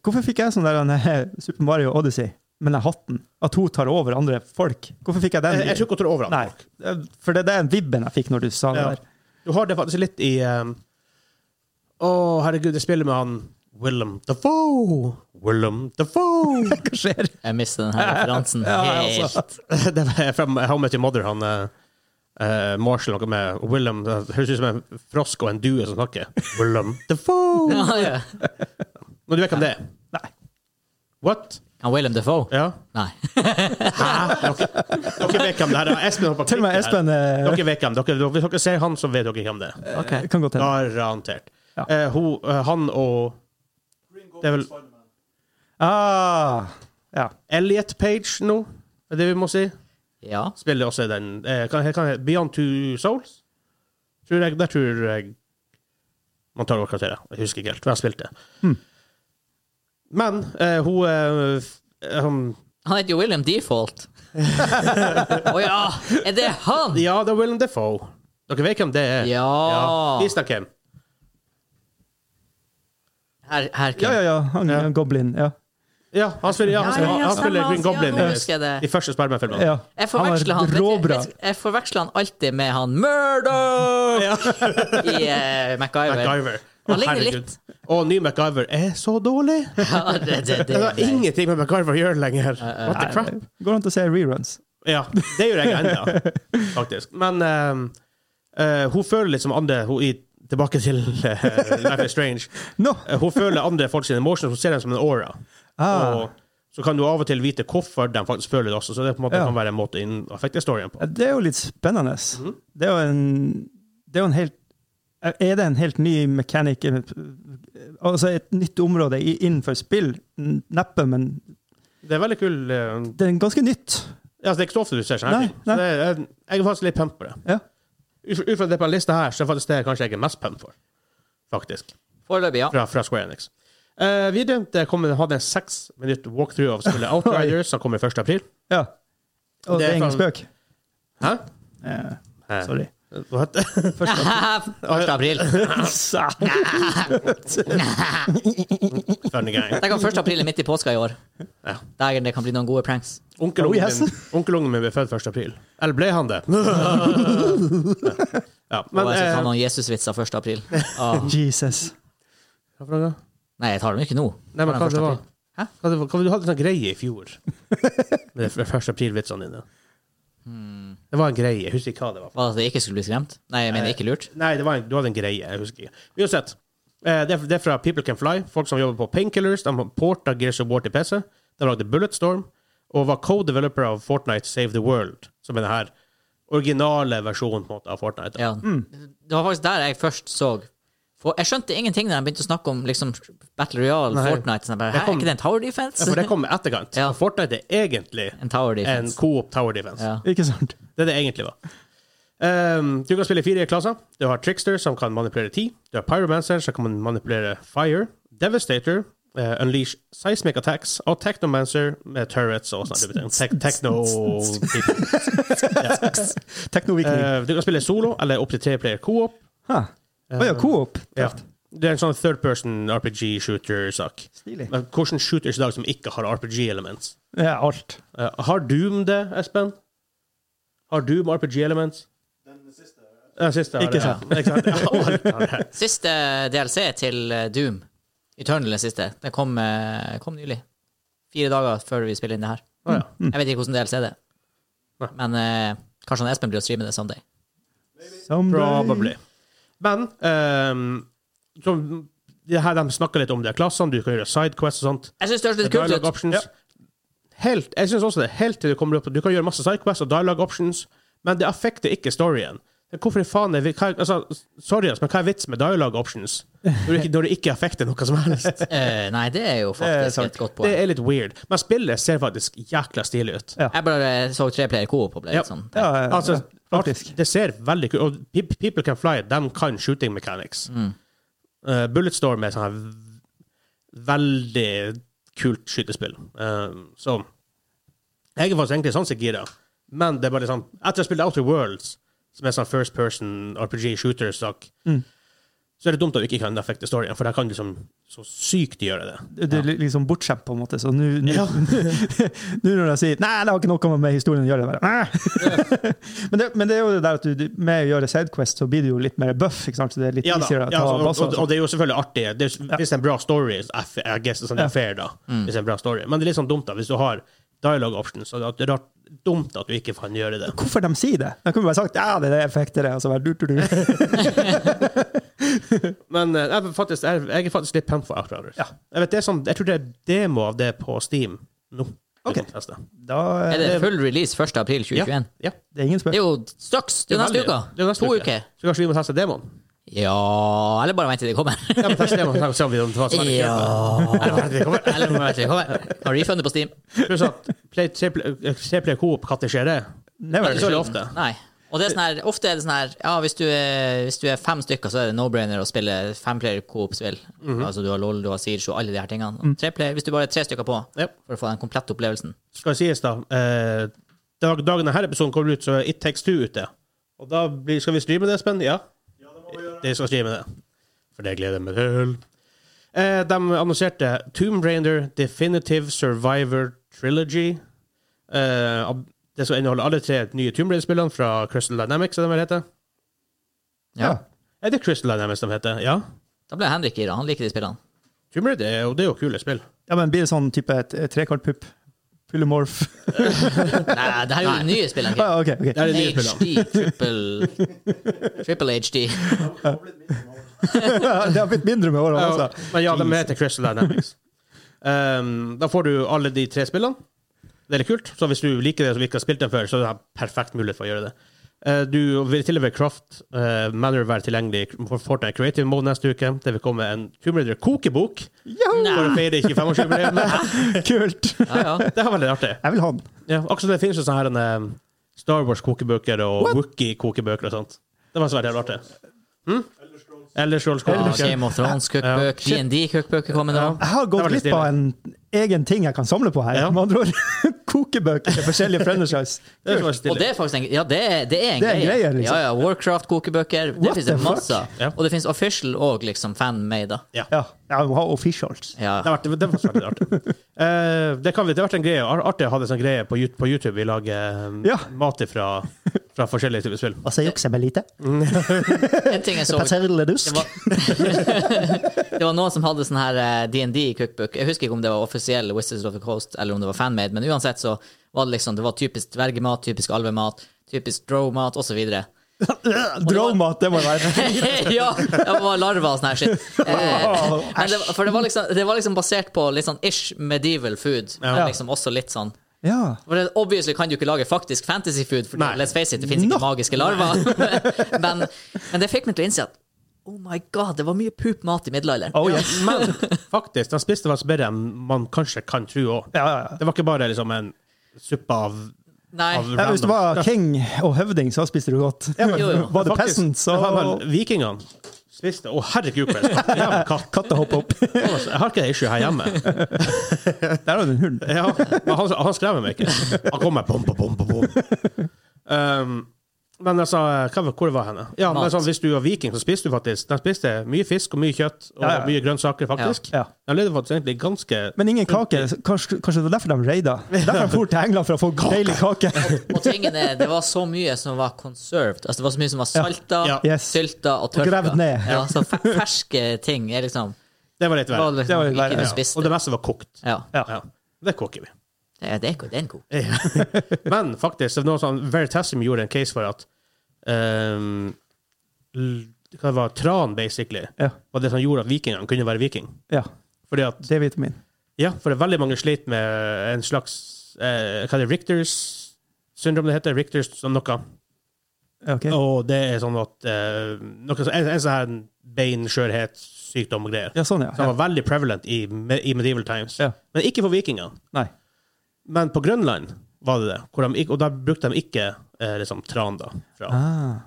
Speaker 2: Hvorfor fikk jeg sånn der eh, Super Mario Odyssey, men jeg hatt den? At hun tar over andre folk? Hvorfor fikk jeg den?
Speaker 1: Jeg, jeg tror ikke hun tar over alt.
Speaker 2: Nei, eh, for det, det er den vibben jeg fikk når du sa det
Speaker 1: Ja.
Speaker 2: der.
Speaker 1: Du har det faktisk litt i um, Å, herregud, jeg spiller med han Willem Dafoe! Willem Dafoe!
Speaker 2: Hva skjer?
Speaker 3: Jeg mister den her referansen
Speaker 2: Ja,
Speaker 3: helt.
Speaker 2: altså.
Speaker 1: det var fra How I Met Your Mother, han eh, eh, Marshall, noe med Willem Det høres ut som en frosk og en due som snakker. Willem Dafoe!
Speaker 3: Ja, ja.
Speaker 1: Men du vet hvem det er?
Speaker 2: Nei.
Speaker 1: What?
Speaker 3: Han Willem Defoe?
Speaker 1: Ja?
Speaker 3: Nei.
Speaker 1: Hæ? Dere, dere vet hvem det her er. Espen holdt på å
Speaker 2: Til og med
Speaker 1: klikke her.
Speaker 2: Espen eh,
Speaker 1: Dere vet hvem. Dere, dere, hvis dere ser han, så vet dere hvem det er.
Speaker 2: eh, kan godt hende.
Speaker 1: Garantert.
Speaker 2: Ja.
Speaker 1: Eh, hun, eh, han og Det er vel
Speaker 2: Ah, ja.
Speaker 1: Elliot Page nå, er det vi må si.
Speaker 3: Ja.
Speaker 1: Spiller også i den eh, kan, kan, Beyond Two Souls? Tror jeg, der tror jeg man tar over karakteret. Jeg husker ikke helt hvem spilte.
Speaker 2: Hmm.
Speaker 1: Men eh, hun eh, f- eh, hun-
Speaker 3: Han heter jo William Default. Å ja! Er det han?
Speaker 1: Ja, det er Willem Defoe. Dere vet hvem det er?
Speaker 3: Ja.
Speaker 1: Vis deg hvem.
Speaker 3: Her, her
Speaker 2: ja, ja, ja. Han
Speaker 1: Ja.
Speaker 2: han goblin. Ja.
Speaker 1: Ja, han spiller, ja, han
Speaker 3: Ja,
Speaker 1: spiller,
Speaker 3: ja, ja,
Speaker 1: han
Speaker 3: stemmer,
Speaker 1: spiller Green
Speaker 3: altså, ja,
Speaker 1: Goblin
Speaker 3: nå
Speaker 1: i
Speaker 3: husker jeg det.
Speaker 1: de første Spiderman-filmene.
Speaker 2: ja.
Speaker 3: Jeg
Speaker 2: Han var
Speaker 3: forveksler han, vet du-
Speaker 2: råbra.
Speaker 3: vet du- jeg forveksler han alltid med han Murdoch i eh, MacGyver.
Speaker 1: MacGyver.
Speaker 3: Han ligner
Speaker 1: Herregud.
Speaker 3: litt.
Speaker 1: Og ny MacGyver er så dårlig!
Speaker 3: Ja, det, Eh, det, det,
Speaker 1: Det har ingenting med MacGyver å gjøre lenger. What the crap?
Speaker 2: Går an til å se reruns.
Speaker 1: Ja, det gjør jeg ennå, faktisk. Men ehm, eh, hun føler litt som andre hun, i, Tilbake til eh, Life is Strange.
Speaker 2: Nå!
Speaker 1: Eh, hun føler andre folk sine emotions, hun ser dem som en aura.
Speaker 2: Ah.
Speaker 1: Og så kan du av og til vite hvorfor de faktisk føler det også, så det på en måte
Speaker 2: Ja.
Speaker 1: kan være en måte å affekte storyen på.
Speaker 2: Ja, Det er jo litt spennende.
Speaker 1: Mhm.
Speaker 2: Det er jo en Det er jo en helt Er det en helt ny mechanic eh, Altså et nytt område i- innenfor spill? N- Neppe, men
Speaker 1: Det er veldig kul eh,
Speaker 2: det er ganske nytt.
Speaker 1: Ja, altså, det er ikke så ofte du ser sånne
Speaker 2: Nei,
Speaker 1: her ting. Så
Speaker 2: nei.
Speaker 1: det er, jeg- jeg er faktisk litt pump på det.
Speaker 2: Ja.
Speaker 1: Ut fra- ut fra det på den lista her, så er faktisk det kanskje jeg er mest pump for. Faktisk.
Speaker 3: Foreløpig, ja.
Speaker 1: Fra, fra Square Enix. Uh, videre det kommer, hadde en seks minutt walkthrough av spillet Outriders, som kommer 1. april.
Speaker 2: ja.
Speaker 1: Det
Speaker 2: Og det
Speaker 1: er
Speaker 2: er ingen
Speaker 1: fan-
Speaker 2: spøk.
Speaker 1: Hæ?
Speaker 2: Eh,
Speaker 1: Eh,
Speaker 2: sorry.
Speaker 1: What? Først,
Speaker 3: 1. april.
Speaker 2: Satan.
Speaker 1: funny guy.
Speaker 3: Tenk om 1. april er midt i påska i år.
Speaker 1: Ja.
Speaker 3: Dagen det kan bli noen gode pranks.
Speaker 1: Onkelungen
Speaker 2: Oh, yes.
Speaker 1: min, onkelungen min ble født 1. april. Eller ble han det? ja,
Speaker 3: Men,
Speaker 1: men
Speaker 3: og jeg skal ta
Speaker 1: eh,
Speaker 3: noen Jesusvitser 1. april. Åh.
Speaker 2: Jesus.
Speaker 1: eh, hva for noe da?
Speaker 3: Nei, jeg tar dem ikke nå.
Speaker 1: Nei, men hva
Speaker 3: Tar dem
Speaker 1: det
Speaker 3: 1.
Speaker 1: var
Speaker 3: april.
Speaker 1: Hæ? Hva det var? Hva, du hadde en sånn greie i fjor med de f- 1. april-vitsene dine. Det var en greie. Jeg husker ikke hva det var.
Speaker 3: Var det at jeg ikke skulle bli skremt? Nei, jeg mener ikke lurt.
Speaker 1: Nei, det var en, du hadde en greie. Jeg husker ikke. Uansett. eh, Det er, det er fra People Can Fly. Folk som jobber på Painkillers. De har porta Gears of War til PC. De lagde Bulletstorm. Og var co-developer av Fortnite Save the World, som er den her originale versjonen på en måte, av Fortnite.
Speaker 3: Ja. Det var faktisk der jeg først så for Jeg skjønte ingenting da de begynte å snakke om liksom, Battle Royale,
Speaker 1: Nei.
Speaker 3: Fortnite. Sånn, jeg bare,
Speaker 1: Det
Speaker 3: Hæ,
Speaker 1: kom-
Speaker 3: er ikke det en tower
Speaker 1: Ja,
Speaker 3: defense?
Speaker 1: for det kom i etterkant.
Speaker 3: Ja.
Speaker 1: Og Fortnite er egentlig
Speaker 3: en tower
Speaker 1: en
Speaker 3: defense.
Speaker 1: coop tower defense.
Speaker 3: Ja.
Speaker 2: Ikke sant?
Speaker 1: Det er det egentlig var. Ehm, du kan spille i fire klasser. Du har Trickster, som kan manipulere ti. Du har Pyromancer, som kan manipulere fire. Devastator, eh, Unleash Seismic Attacks. Og Technomancer med turrets og sånn. Tek techno
Speaker 2: Teknovikning.
Speaker 1: Eh, Du kan spille solo eller opptil tre player co-op.
Speaker 2: Å ja, Coop.
Speaker 1: Eh, Ja. Det er en sånn third person RPG shooter-sak.
Speaker 2: Stilig.
Speaker 1: Men Hvordan shooters i dag som ikke har RPG-elements?
Speaker 2: Ja, alt.
Speaker 1: Eh, har Doom det, Espen? Har Doom RPG Elements? Den siste. Den siste
Speaker 2: Ikke
Speaker 1: har det, ja. Ikke sant? Ja, alt har det.
Speaker 3: Siste DLC til eh, Doom. Eternal er siste. Den kom, eh, kom nylig. Fire dager før vi spiller inn det her.
Speaker 1: Å, ja.
Speaker 3: Jeg vet ikke hvordan DLC det er.
Speaker 1: Mm. Nei.
Speaker 3: Men eh, kanskje han Espen blir å streame det someday.
Speaker 2: Someday.
Speaker 1: Probably. Mm. Men ehm, så, det her de snakker litt om de klassene, du kan gjøre sidequests og sånt.
Speaker 3: Jeg syns det høres litt kult
Speaker 1: Dialogue
Speaker 3: ut.
Speaker 1: options. Helt, jeg synes også det, helt til du kommer opp Du kan gjøre masse sidequests og dialogue options, men det affekter ikke storyen. Hvorfor i faen er vi, hva, altså, Sorry, ass, men hva er vitsen med dialogue options når det ikke, når det ikke affekter noe som helst?
Speaker 3: Eh, nei, det er jo
Speaker 2: er
Speaker 3: faktisk
Speaker 2: sant.
Speaker 3: et godt
Speaker 1: Det
Speaker 3: poeng.
Speaker 1: er litt weird. Men spillet ser faktisk jækla stilig ut.
Speaker 2: Ja.
Speaker 3: Jeg bare så tre player coop og ble
Speaker 1: Ja.
Speaker 3: litt sånn
Speaker 2: Ja, ja,
Speaker 1: Altså,
Speaker 2: ja, faktisk.
Speaker 1: Det ser veldig kult Og Pe- People Can Fly de kan shooting mechanics.
Speaker 2: Mm.
Speaker 1: Eh, Bulletstorm er sånn her v- veldig kult skytespill. Eh, så jeg er faktisk egentlig sånn sett gira, men det er bare sånn Etter å ha spilt Outer Worlds, som er sånn first person RPG shooter-sak,
Speaker 2: Mm.
Speaker 1: så er det dumt at du ikke kan affekte storyen, for der kan du liksom så sykt gjøre det.
Speaker 2: Det er li- liksom bortskjemt, på en måte. Så nå nå-
Speaker 1: Ja.
Speaker 2: nå når de sier Nei, det har ikke noe med historien å gjøre. jeg Bare, «Nei». men, det, men det er jo det der at du- du, med å gjøre Sidequest, så blir du jo litt mer buff. ikke sant? Så det er litt
Speaker 1: Ja, da.
Speaker 2: easier å
Speaker 1: Ja,
Speaker 2: ta
Speaker 1: altså,
Speaker 2: basser.
Speaker 1: og,
Speaker 2: og sånn.
Speaker 1: og, og det er jo selvfølgelig artig. Det er, Hvis det er en bra story, så er f- I guess, sånn, det er
Speaker 2: Ja.
Speaker 1: fair, da. Hvis det er en bra story. Men det er litt sånn dumt, da, hvis du har dialogue options. Så det er rart, dumt at du ikke kan gjøre det.
Speaker 2: sånt. Hvorfor de sier det? De kunne bare sagt ja, det er det effekter, det. Og så bare du, du, du.
Speaker 1: Men eh, jeg, er faktisk, jeg, jeg er faktisk litt pumped for Outriders.
Speaker 2: Ja.
Speaker 1: Jeg, vet, det er sånn, jeg tror det er demo av det på Steam nå.
Speaker 2: Ok.
Speaker 1: Du kan teste.
Speaker 2: Da er
Speaker 3: Er det
Speaker 2: det,
Speaker 3: full release 1. april 2021?
Speaker 1: Ja.
Speaker 2: det er ingen
Speaker 3: Det
Speaker 2: spørsmål.
Speaker 3: er jo straks! Det er jo neste
Speaker 1: veldig-
Speaker 3: uke.
Speaker 1: det er neste
Speaker 3: to
Speaker 1: uke.
Speaker 3: uker.
Speaker 1: Så kanskje vi må teste demoen?
Speaker 3: Ja Eller bare vent til de kommer.
Speaker 1: Ja, men teste demoen, så ser vi om det var sånn.
Speaker 3: Ja
Speaker 1: Eller bare at vi kommer.
Speaker 3: Eller bare vent til de kommer. Har refundet på Steam.
Speaker 1: Pluss at play, tre, play, tre player coop, når skjer det?
Speaker 2: Never.
Speaker 1: Ikke så ofte.
Speaker 3: Nei. Og det er sånn her, ofte er det sånn her Ja, hvis du er, hvis du er fem stykker, så er det no-brainer å spille femplayer coop-spill.
Speaker 1: Mhm.
Speaker 3: Altså du har LOL, du har Siege og alle de her tingene. Og Treplayer, hvis du bare er tre stykker på
Speaker 1: Ja.
Speaker 3: for å få den komplette opplevelsen.
Speaker 1: skal sies, da eh, dag, Dagen denne episoden kommer ut, så er It Takes Two ute. Og da blir, skal vi streame det, Espen? Ja? det skal streame det. For det gleder jeg meg til. Eh, de annonserte Tomb Raider Definitive Survivor Trilogy. Eh, ab- det skal inneholde alle tre nye Tomb Raider-spillene fra Crystal Dynamics, er det vel heter?
Speaker 2: Ja.
Speaker 1: Er det Crystal Dynamics de heter? Ja.
Speaker 3: Da ble Henrik gira. Han liker de spillene.
Speaker 1: Tomb Raider er jo, det er jo kule spill.
Speaker 2: ja, men blir det sånn type et- et trekantpupp? Pullemorph?
Speaker 3: Nei, det her er jo de nye spillene.
Speaker 2: Ah, ok, ok.
Speaker 1: Det er de nye spillene.
Speaker 3: HD, triple Triple HD.
Speaker 2: det har blitt mindre med årene,
Speaker 1: Ja,
Speaker 2: altså.
Speaker 1: men ja, de heter Crystal Dynamics. Um, da får du alle de tre spillene. Det er litt kult. Så hvis du liker det, som ikke har spilt dem før, så er det perfekt mulighet for å gjøre det. Eh, du vil til og med Craft uh, Manor være tilgjengelig for Fortnite Creative Mode neste uke. Det vil komme en Tomb Raider kokebok
Speaker 2: Ja,
Speaker 1: for å feire 25-årsjubileet.
Speaker 2: kult!
Speaker 3: Ja, ja.
Speaker 1: Det er veldig artig.
Speaker 2: Jeg vil ha den.
Speaker 1: Ja, akkurat som det finnes jo sånne her, en, eh, Star Wars-kokebøker og Wookie-kokebøker og sånt. Det var svært jævlig artig. Hm? Elder Scrolls
Speaker 3: Ja,
Speaker 1: kokebøker.
Speaker 3: Game of Thrones-cookbook, D&D-cookbook er kommet nå.
Speaker 2: Jeg har
Speaker 1: Det var
Speaker 2: gått
Speaker 1: litt
Speaker 2: glipp av
Speaker 1: stilig.
Speaker 2: en egen ting jeg kan samle på her.
Speaker 1: Ja.
Speaker 2: Med andre ord, kokebøker til forskjellige franchises.
Speaker 1: Det er så
Speaker 3: Og det
Speaker 1: stilig.
Speaker 3: er faktisk en, ja, det er, det er en
Speaker 2: Det er en
Speaker 3: greie.
Speaker 2: greie, liksom.
Speaker 3: Ja, ja, Warcraft-kokebøker. Det
Speaker 2: What
Speaker 3: finnes
Speaker 2: the
Speaker 3: det
Speaker 2: fuck?
Speaker 3: masse av.
Speaker 1: Ja.
Speaker 3: Og det finnes official og liksom fan-made. da.
Speaker 1: Ja.
Speaker 2: Ja, jeg må ha officials.
Speaker 3: Ja.
Speaker 1: Det, har vært, det var veldig artig. Eh, det, kan vi, det har vært en greie. Ar- Artig å ha en sånn greie på, Yout- på YouTube. Vi lager eh,
Speaker 2: Ja.
Speaker 1: mat fra, fra forskjellige typer spill.
Speaker 2: Og så jukser jeg lite.
Speaker 3: En ting jeg så det var, det var noen som hadde sånn her eh, D&D cookbook. Jeg husker ikke om det var offisiell Wizards of the Coast eller om det var fanmade, men uansett så var det liksom, det var typisk dvergemat, typisk alvemat, typisk drow-mat osv.
Speaker 2: Drowmat, det må det være.
Speaker 3: ja! Det var larver og sånn her shit. Eh,
Speaker 2: Wow,
Speaker 3: men det, for det var, liksom, det var liksom basert på litt sånn ish medieval food, men
Speaker 2: Ja.
Speaker 3: liksom også litt sånn
Speaker 2: Ja.
Speaker 3: For det, obviously kan du ikke lage faktisk fantasy food, for
Speaker 1: Nei.
Speaker 3: let's face it, det finnes ikke magiske larver. men, men det fikk meg til å innse at oh my god, det var mye poop-mat i middelalderen.
Speaker 2: Oh, yes.
Speaker 1: Men faktisk, de spiste faktisk bedre enn man kanskje kan tro òg.
Speaker 2: Ja, ja, ja.
Speaker 1: Det var ikke bare liksom en suppe av,
Speaker 3: Nei.
Speaker 1: av
Speaker 2: Ja, hvis du var king og høvding, så spiste du godt.
Speaker 3: jo, jo.
Speaker 2: Var du
Speaker 1: Faktisk,
Speaker 2: peasant, så
Speaker 1: det var vel Vikingene spiste Å, herregud, for en skatt. Ja, katt.
Speaker 2: Katta hoppa opp.
Speaker 1: Jeg har ikke det issue her hjemme.
Speaker 2: Der har du en hund.
Speaker 1: Ja, men han, han skrev meg ikke. Han kom med bom, bom, bom, bom, bom. Um, men jeg sa hva, var- hvor det var henne? Ja, men
Speaker 3: Mat.
Speaker 1: sånn, Hvis du var viking, så spiste du faktisk De spiste mye fisk og mye kjøtt og
Speaker 2: Ja, ja.
Speaker 1: mye grønnsaker, faktisk.
Speaker 2: Ja.
Speaker 1: De levde faktisk egentlig ganske
Speaker 2: Men ingen kake.
Speaker 1: Mm.
Speaker 2: så Kanskje, kanskje det var derfor de raida? Derfor de for til England for å få deilig kake.
Speaker 3: Og tingen er, det var så mye som var conserved. Altså, det var så mye som var salta,
Speaker 1: Ja.
Speaker 2: Yes.
Speaker 3: sylta og tørka.
Speaker 2: Gravd ned.
Speaker 3: Ja, så fe- ferske ting er liksom
Speaker 1: Det var litt
Speaker 3: Det var
Speaker 1: verre.
Speaker 3: liksom
Speaker 2: Det var
Speaker 3: ikke
Speaker 2: verre,
Speaker 3: du
Speaker 1: Og
Speaker 2: ja.
Speaker 1: det
Speaker 3: spiste.
Speaker 1: meste var kokt.
Speaker 3: Ja.
Speaker 2: Ja.
Speaker 1: Ja. Det koker vi.
Speaker 3: Det er- det er ikke det er en kok.
Speaker 1: Men faktisk, det var noe sånn Veritasium gjorde en case for at um, l- hva det var tran, basically,
Speaker 2: Ja.
Speaker 1: var det som gjorde at vikingene kunne være viking.
Speaker 2: ja.
Speaker 1: Fordi at
Speaker 2: D-vitamin.
Speaker 1: Ja, for det er veldig mange slit med en slags eh, Hva er det Richters syndrom det heter? Richters som noe.
Speaker 2: Ok.
Speaker 1: Og det er sånn at eh, noe, som- En, en sånn her beinskjørhet, sykdom og greier.
Speaker 2: Ja, sånn, ja.
Speaker 1: Som
Speaker 2: ja.
Speaker 1: var veldig prevalent i, me- i medieval times.
Speaker 2: Ja.
Speaker 1: Men ikke for vikingene.
Speaker 2: Nei.
Speaker 1: Men på Grønland var det det. Hvor de, ikke- og da brukte de ikke eh, liksom tran, da. Fra,
Speaker 2: Ah.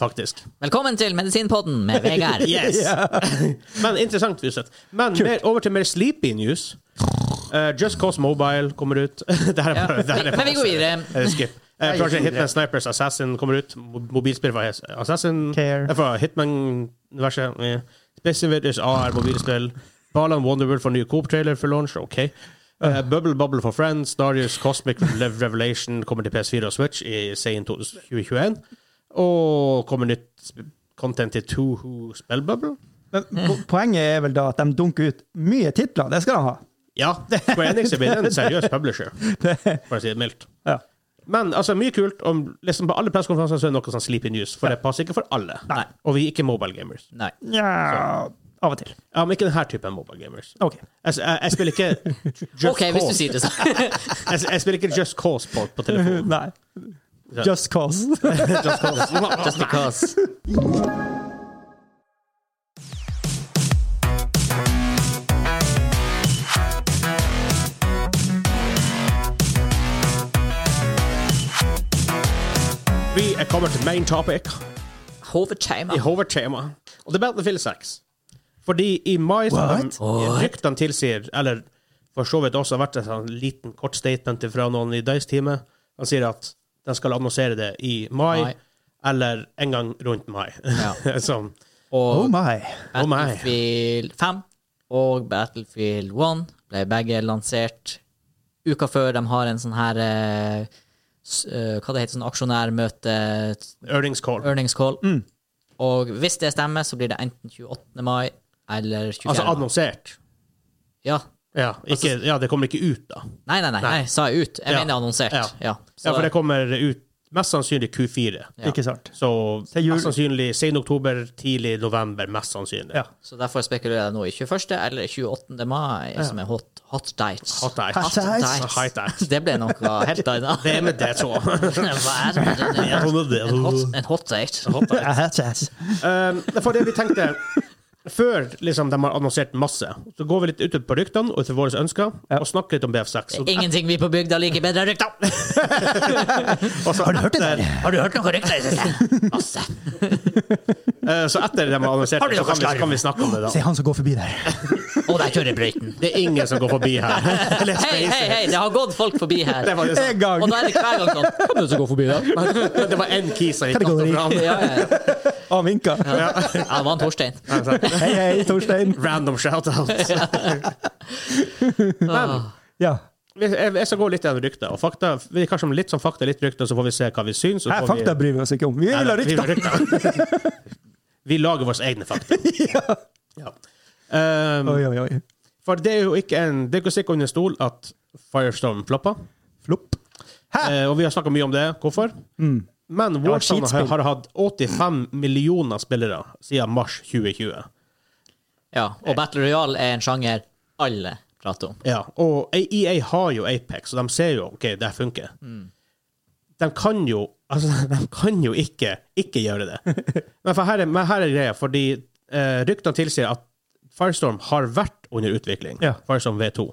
Speaker 1: Faktisk.
Speaker 3: Velkommen til Medisinpodden med Vegard.
Speaker 1: Yes! Men interessant, Fuset. Men mer, over til mer sleepy news. Eh, Just Cause Mobile kommer ut. det her er
Speaker 3: Ja.
Speaker 1: bare, det her er
Speaker 3: Men vi
Speaker 1: bare-
Speaker 3: går videre.
Speaker 1: Eh, skip. Eh,
Speaker 2: Nei,
Speaker 1: Project
Speaker 2: videre.
Speaker 1: Hitman Snipers Assassin kommer ut. Mo- Mobilspill fra Hes- Assassin.
Speaker 2: Care.
Speaker 1: Eh, Fra Hitman-universet. eh, Space Invaders AR mobilspill. Balan Wonderworld for ny Coop-trailer for launch. OK. Eh, Bubble Bubble for Friends. Darius Cosmic Lev Revelation kommer til PS4 og Switch i sen 2021. Og kommer nytt sp- content til Tohu Spellbubble.
Speaker 2: Men po- poenget er vel da at de dunker ut mye titler. Det skal de ha.
Speaker 1: Ja, Square Enix er blitt en seriøs publisher, for å si det mildt.
Speaker 2: Ja.
Speaker 1: Men altså, mye kult. Om, liksom, på alle pressekonferanser så er det noe sånn sleepy news, for det passer ikke for alle.
Speaker 3: Nei.
Speaker 1: Og vi er ikke mobile gamers.
Speaker 3: Nei.
Speaker 2: Nja Av og til.
Speaker 1: Ja, men ikke denne typen mobile gamers.
Speaker 2: OK.
Speaker 1: Altså, jeg, jeg spiller ikke Just
Speaker 3: OK, hvis du
Speaker 1: Cause.
Speaker 3: sier det sånn.
Speaker 1: Jeg, jeg spiller ikke Just Cause på, på telefonen.
Speaker 2: Nei. Just cause.
Speaker 1: Just Cause.
Speaker 3: Just because.
Speaker 1: Vi er kommet til main topic
Speaker 3: Hovedtema.
Speaker 1: i hovedtema, og det er Battlefield 6. Fordi i mai så har de- Ryktene tilsier, eller for så vidt også har vært en sånn liten kort statement fra noen i Dice-teamet, han sier at de skal annonsere det i mai,
Speaker 3: Mai.
Speaker 1: eller en gang rundt mai. sånn.
Speaker 3: Og
Speaker 2: Oh my.
Speaker 1: Oh my.
Speaker 3: Battlefield 5 og Battlefield 1 ble begge lansert uka før de har en sånn her eh, s- eh, Hva det heter sånn aksjonærmøte,
Speaker 1: Earnings call.
Speaker 3: earnings call.
Speaker 1: Mm.
Speaker 3: Og hvis det stemmer, så blir det enten 28. mai eller 24.
Speaker 1: Altså
Speaker 3: mai.
Speaker 1: annonsert.
Speaker 3: Ja.
Speaker 1: Ja, ikke,
Speaker 3: Altså-
Speaker 1: ja, det kommer ikke ut, da.
Speaker 3: Nei, nei, nei, nei, sa jeg ut? Jeg
Speaker 1: Ja.
Speaker 3: mener annonsert.
Speaker 1: Ja.
Speaker 3: Ja.
Speaker 1: Ja,
Speaker 3: Så-
Speaker 1: for det kommer ut mest sannsynlig Q4.
Speaker 3: Ja.
Speaker 2: Ikke sant.
Speaker 1: Så
Speaker 2: Til jul.
Speaker 1: mest sannsynlig sen oktober, tidlig november, mest sannsynlig.
Speaker 2: Ja.
Speaker 3: Så derfor spekulerer jeg nå i 21. eller 28. mai, som er hot, hot dates.
Speaker 1: Hot dates.
Speaker 2: Hot dates.
Speaker 1: Hot dates.
Speaker 3: Det ble noe helt annet.
Speaker 1: Det er med det, så.
Speaker 3: Hva er det? En hot, en hot date.
Speaker 1: Hot date.
Speaker 2: Hva
Speaker 1: Um, det er fordi vi tenkte Før liksom, de har annonsert masse, så går vi litt ut på ryktene og etter våre ønsker
Speaker 2: Ja.
Speaker 1: og snakker litt om BF6. Og,
Speaker 3: Ingenting vi på bygda liker bedre enn rykter!
Speaker 1: og så har du hørt det?
Speaker 3: Har du hørt noen rykter i det siste? Masse.
Speaker 1: så etter de har annonsert
Speaker 3: Har du
Speaker 1: det, eh, så
Speaker 3: noe
Speaker 1: kan vi, så
Speaker 3: slarv?
Speaker 1: kan vi snakke om det da.
Speaker 2: Se han som går forbi der.
Speaker 3: Og der kjører brøyten.
Speaker 1: Det er ingen som går forbi her. Let's
Speaker 3: Hei,
Speaker 1: face
Speaker 3: hei,
Speaker 1: it.
Speaker 3: hei! Det har gått folk forbi her.
Speaker 1: Det var det
Speaker 2: En gang!
Speaker 3: Og da er det hver gang sånn. Hvem er det som går forbi der?
Speaker 1: Men det var én kis som gikk opp og fram.
Speaker 3: Ja, ja, ja.
Speaker 2: Han vinka.
Speaker 3: ja, det var en Torstein.
Speaker 2: Hei, hei, Torstein.
Speaker 1: Random shout-out. Men
Speaker 3: Ah,
Speaker 2: Ja.
Speaker 1: vi- jeg jeg skal gå litt gjennom rykter og fakta. Vi kanskje om litt sånn fakta, litt rykter, så får vi se hva vi syns. og så
Speaker 2: Nei,
Speaker 1: får vi-
Speaker 2: fakta bryr vi oss ikke om. Vi vil ha
Speaker 1: Vi
Speaker 2: rykter!
Speaker 1: rykter. Vi lager våre egne fakta. Ja. Um,
Speaker 2: Oi, oi, oi.
Speaker 1: for det er jo ikke en Det er ikke å stikke under stol at Firestorm floppa.
Speaker 2: Flopp. Hæ?
Speaker 1: Eh, og vi har snakka mye om det. Hvorfor? Men
Speaker 2: var
Speaker 1: Warzone har,
Speaker 2: skitspill.
Speaker 1: har hatt 85 millioner spillere siden mars 2020.
Speaker 3: Ja, og Battle Royale er en sjanger alle prater om.
Speaker 1: Ja, og EA har jo Apex, og de ser jo OK, det her funker.
Speaker 2: Mm.
Speaker 1: De kan jo altså, de kan jo ikke ikke gjøre det. Men, for her, er, men her er greia, fordi eh, ryktene tilsier at Firestorm har vært under utvikling.
Speaker 2: Ja.
Speaker 1: Firestorm V2.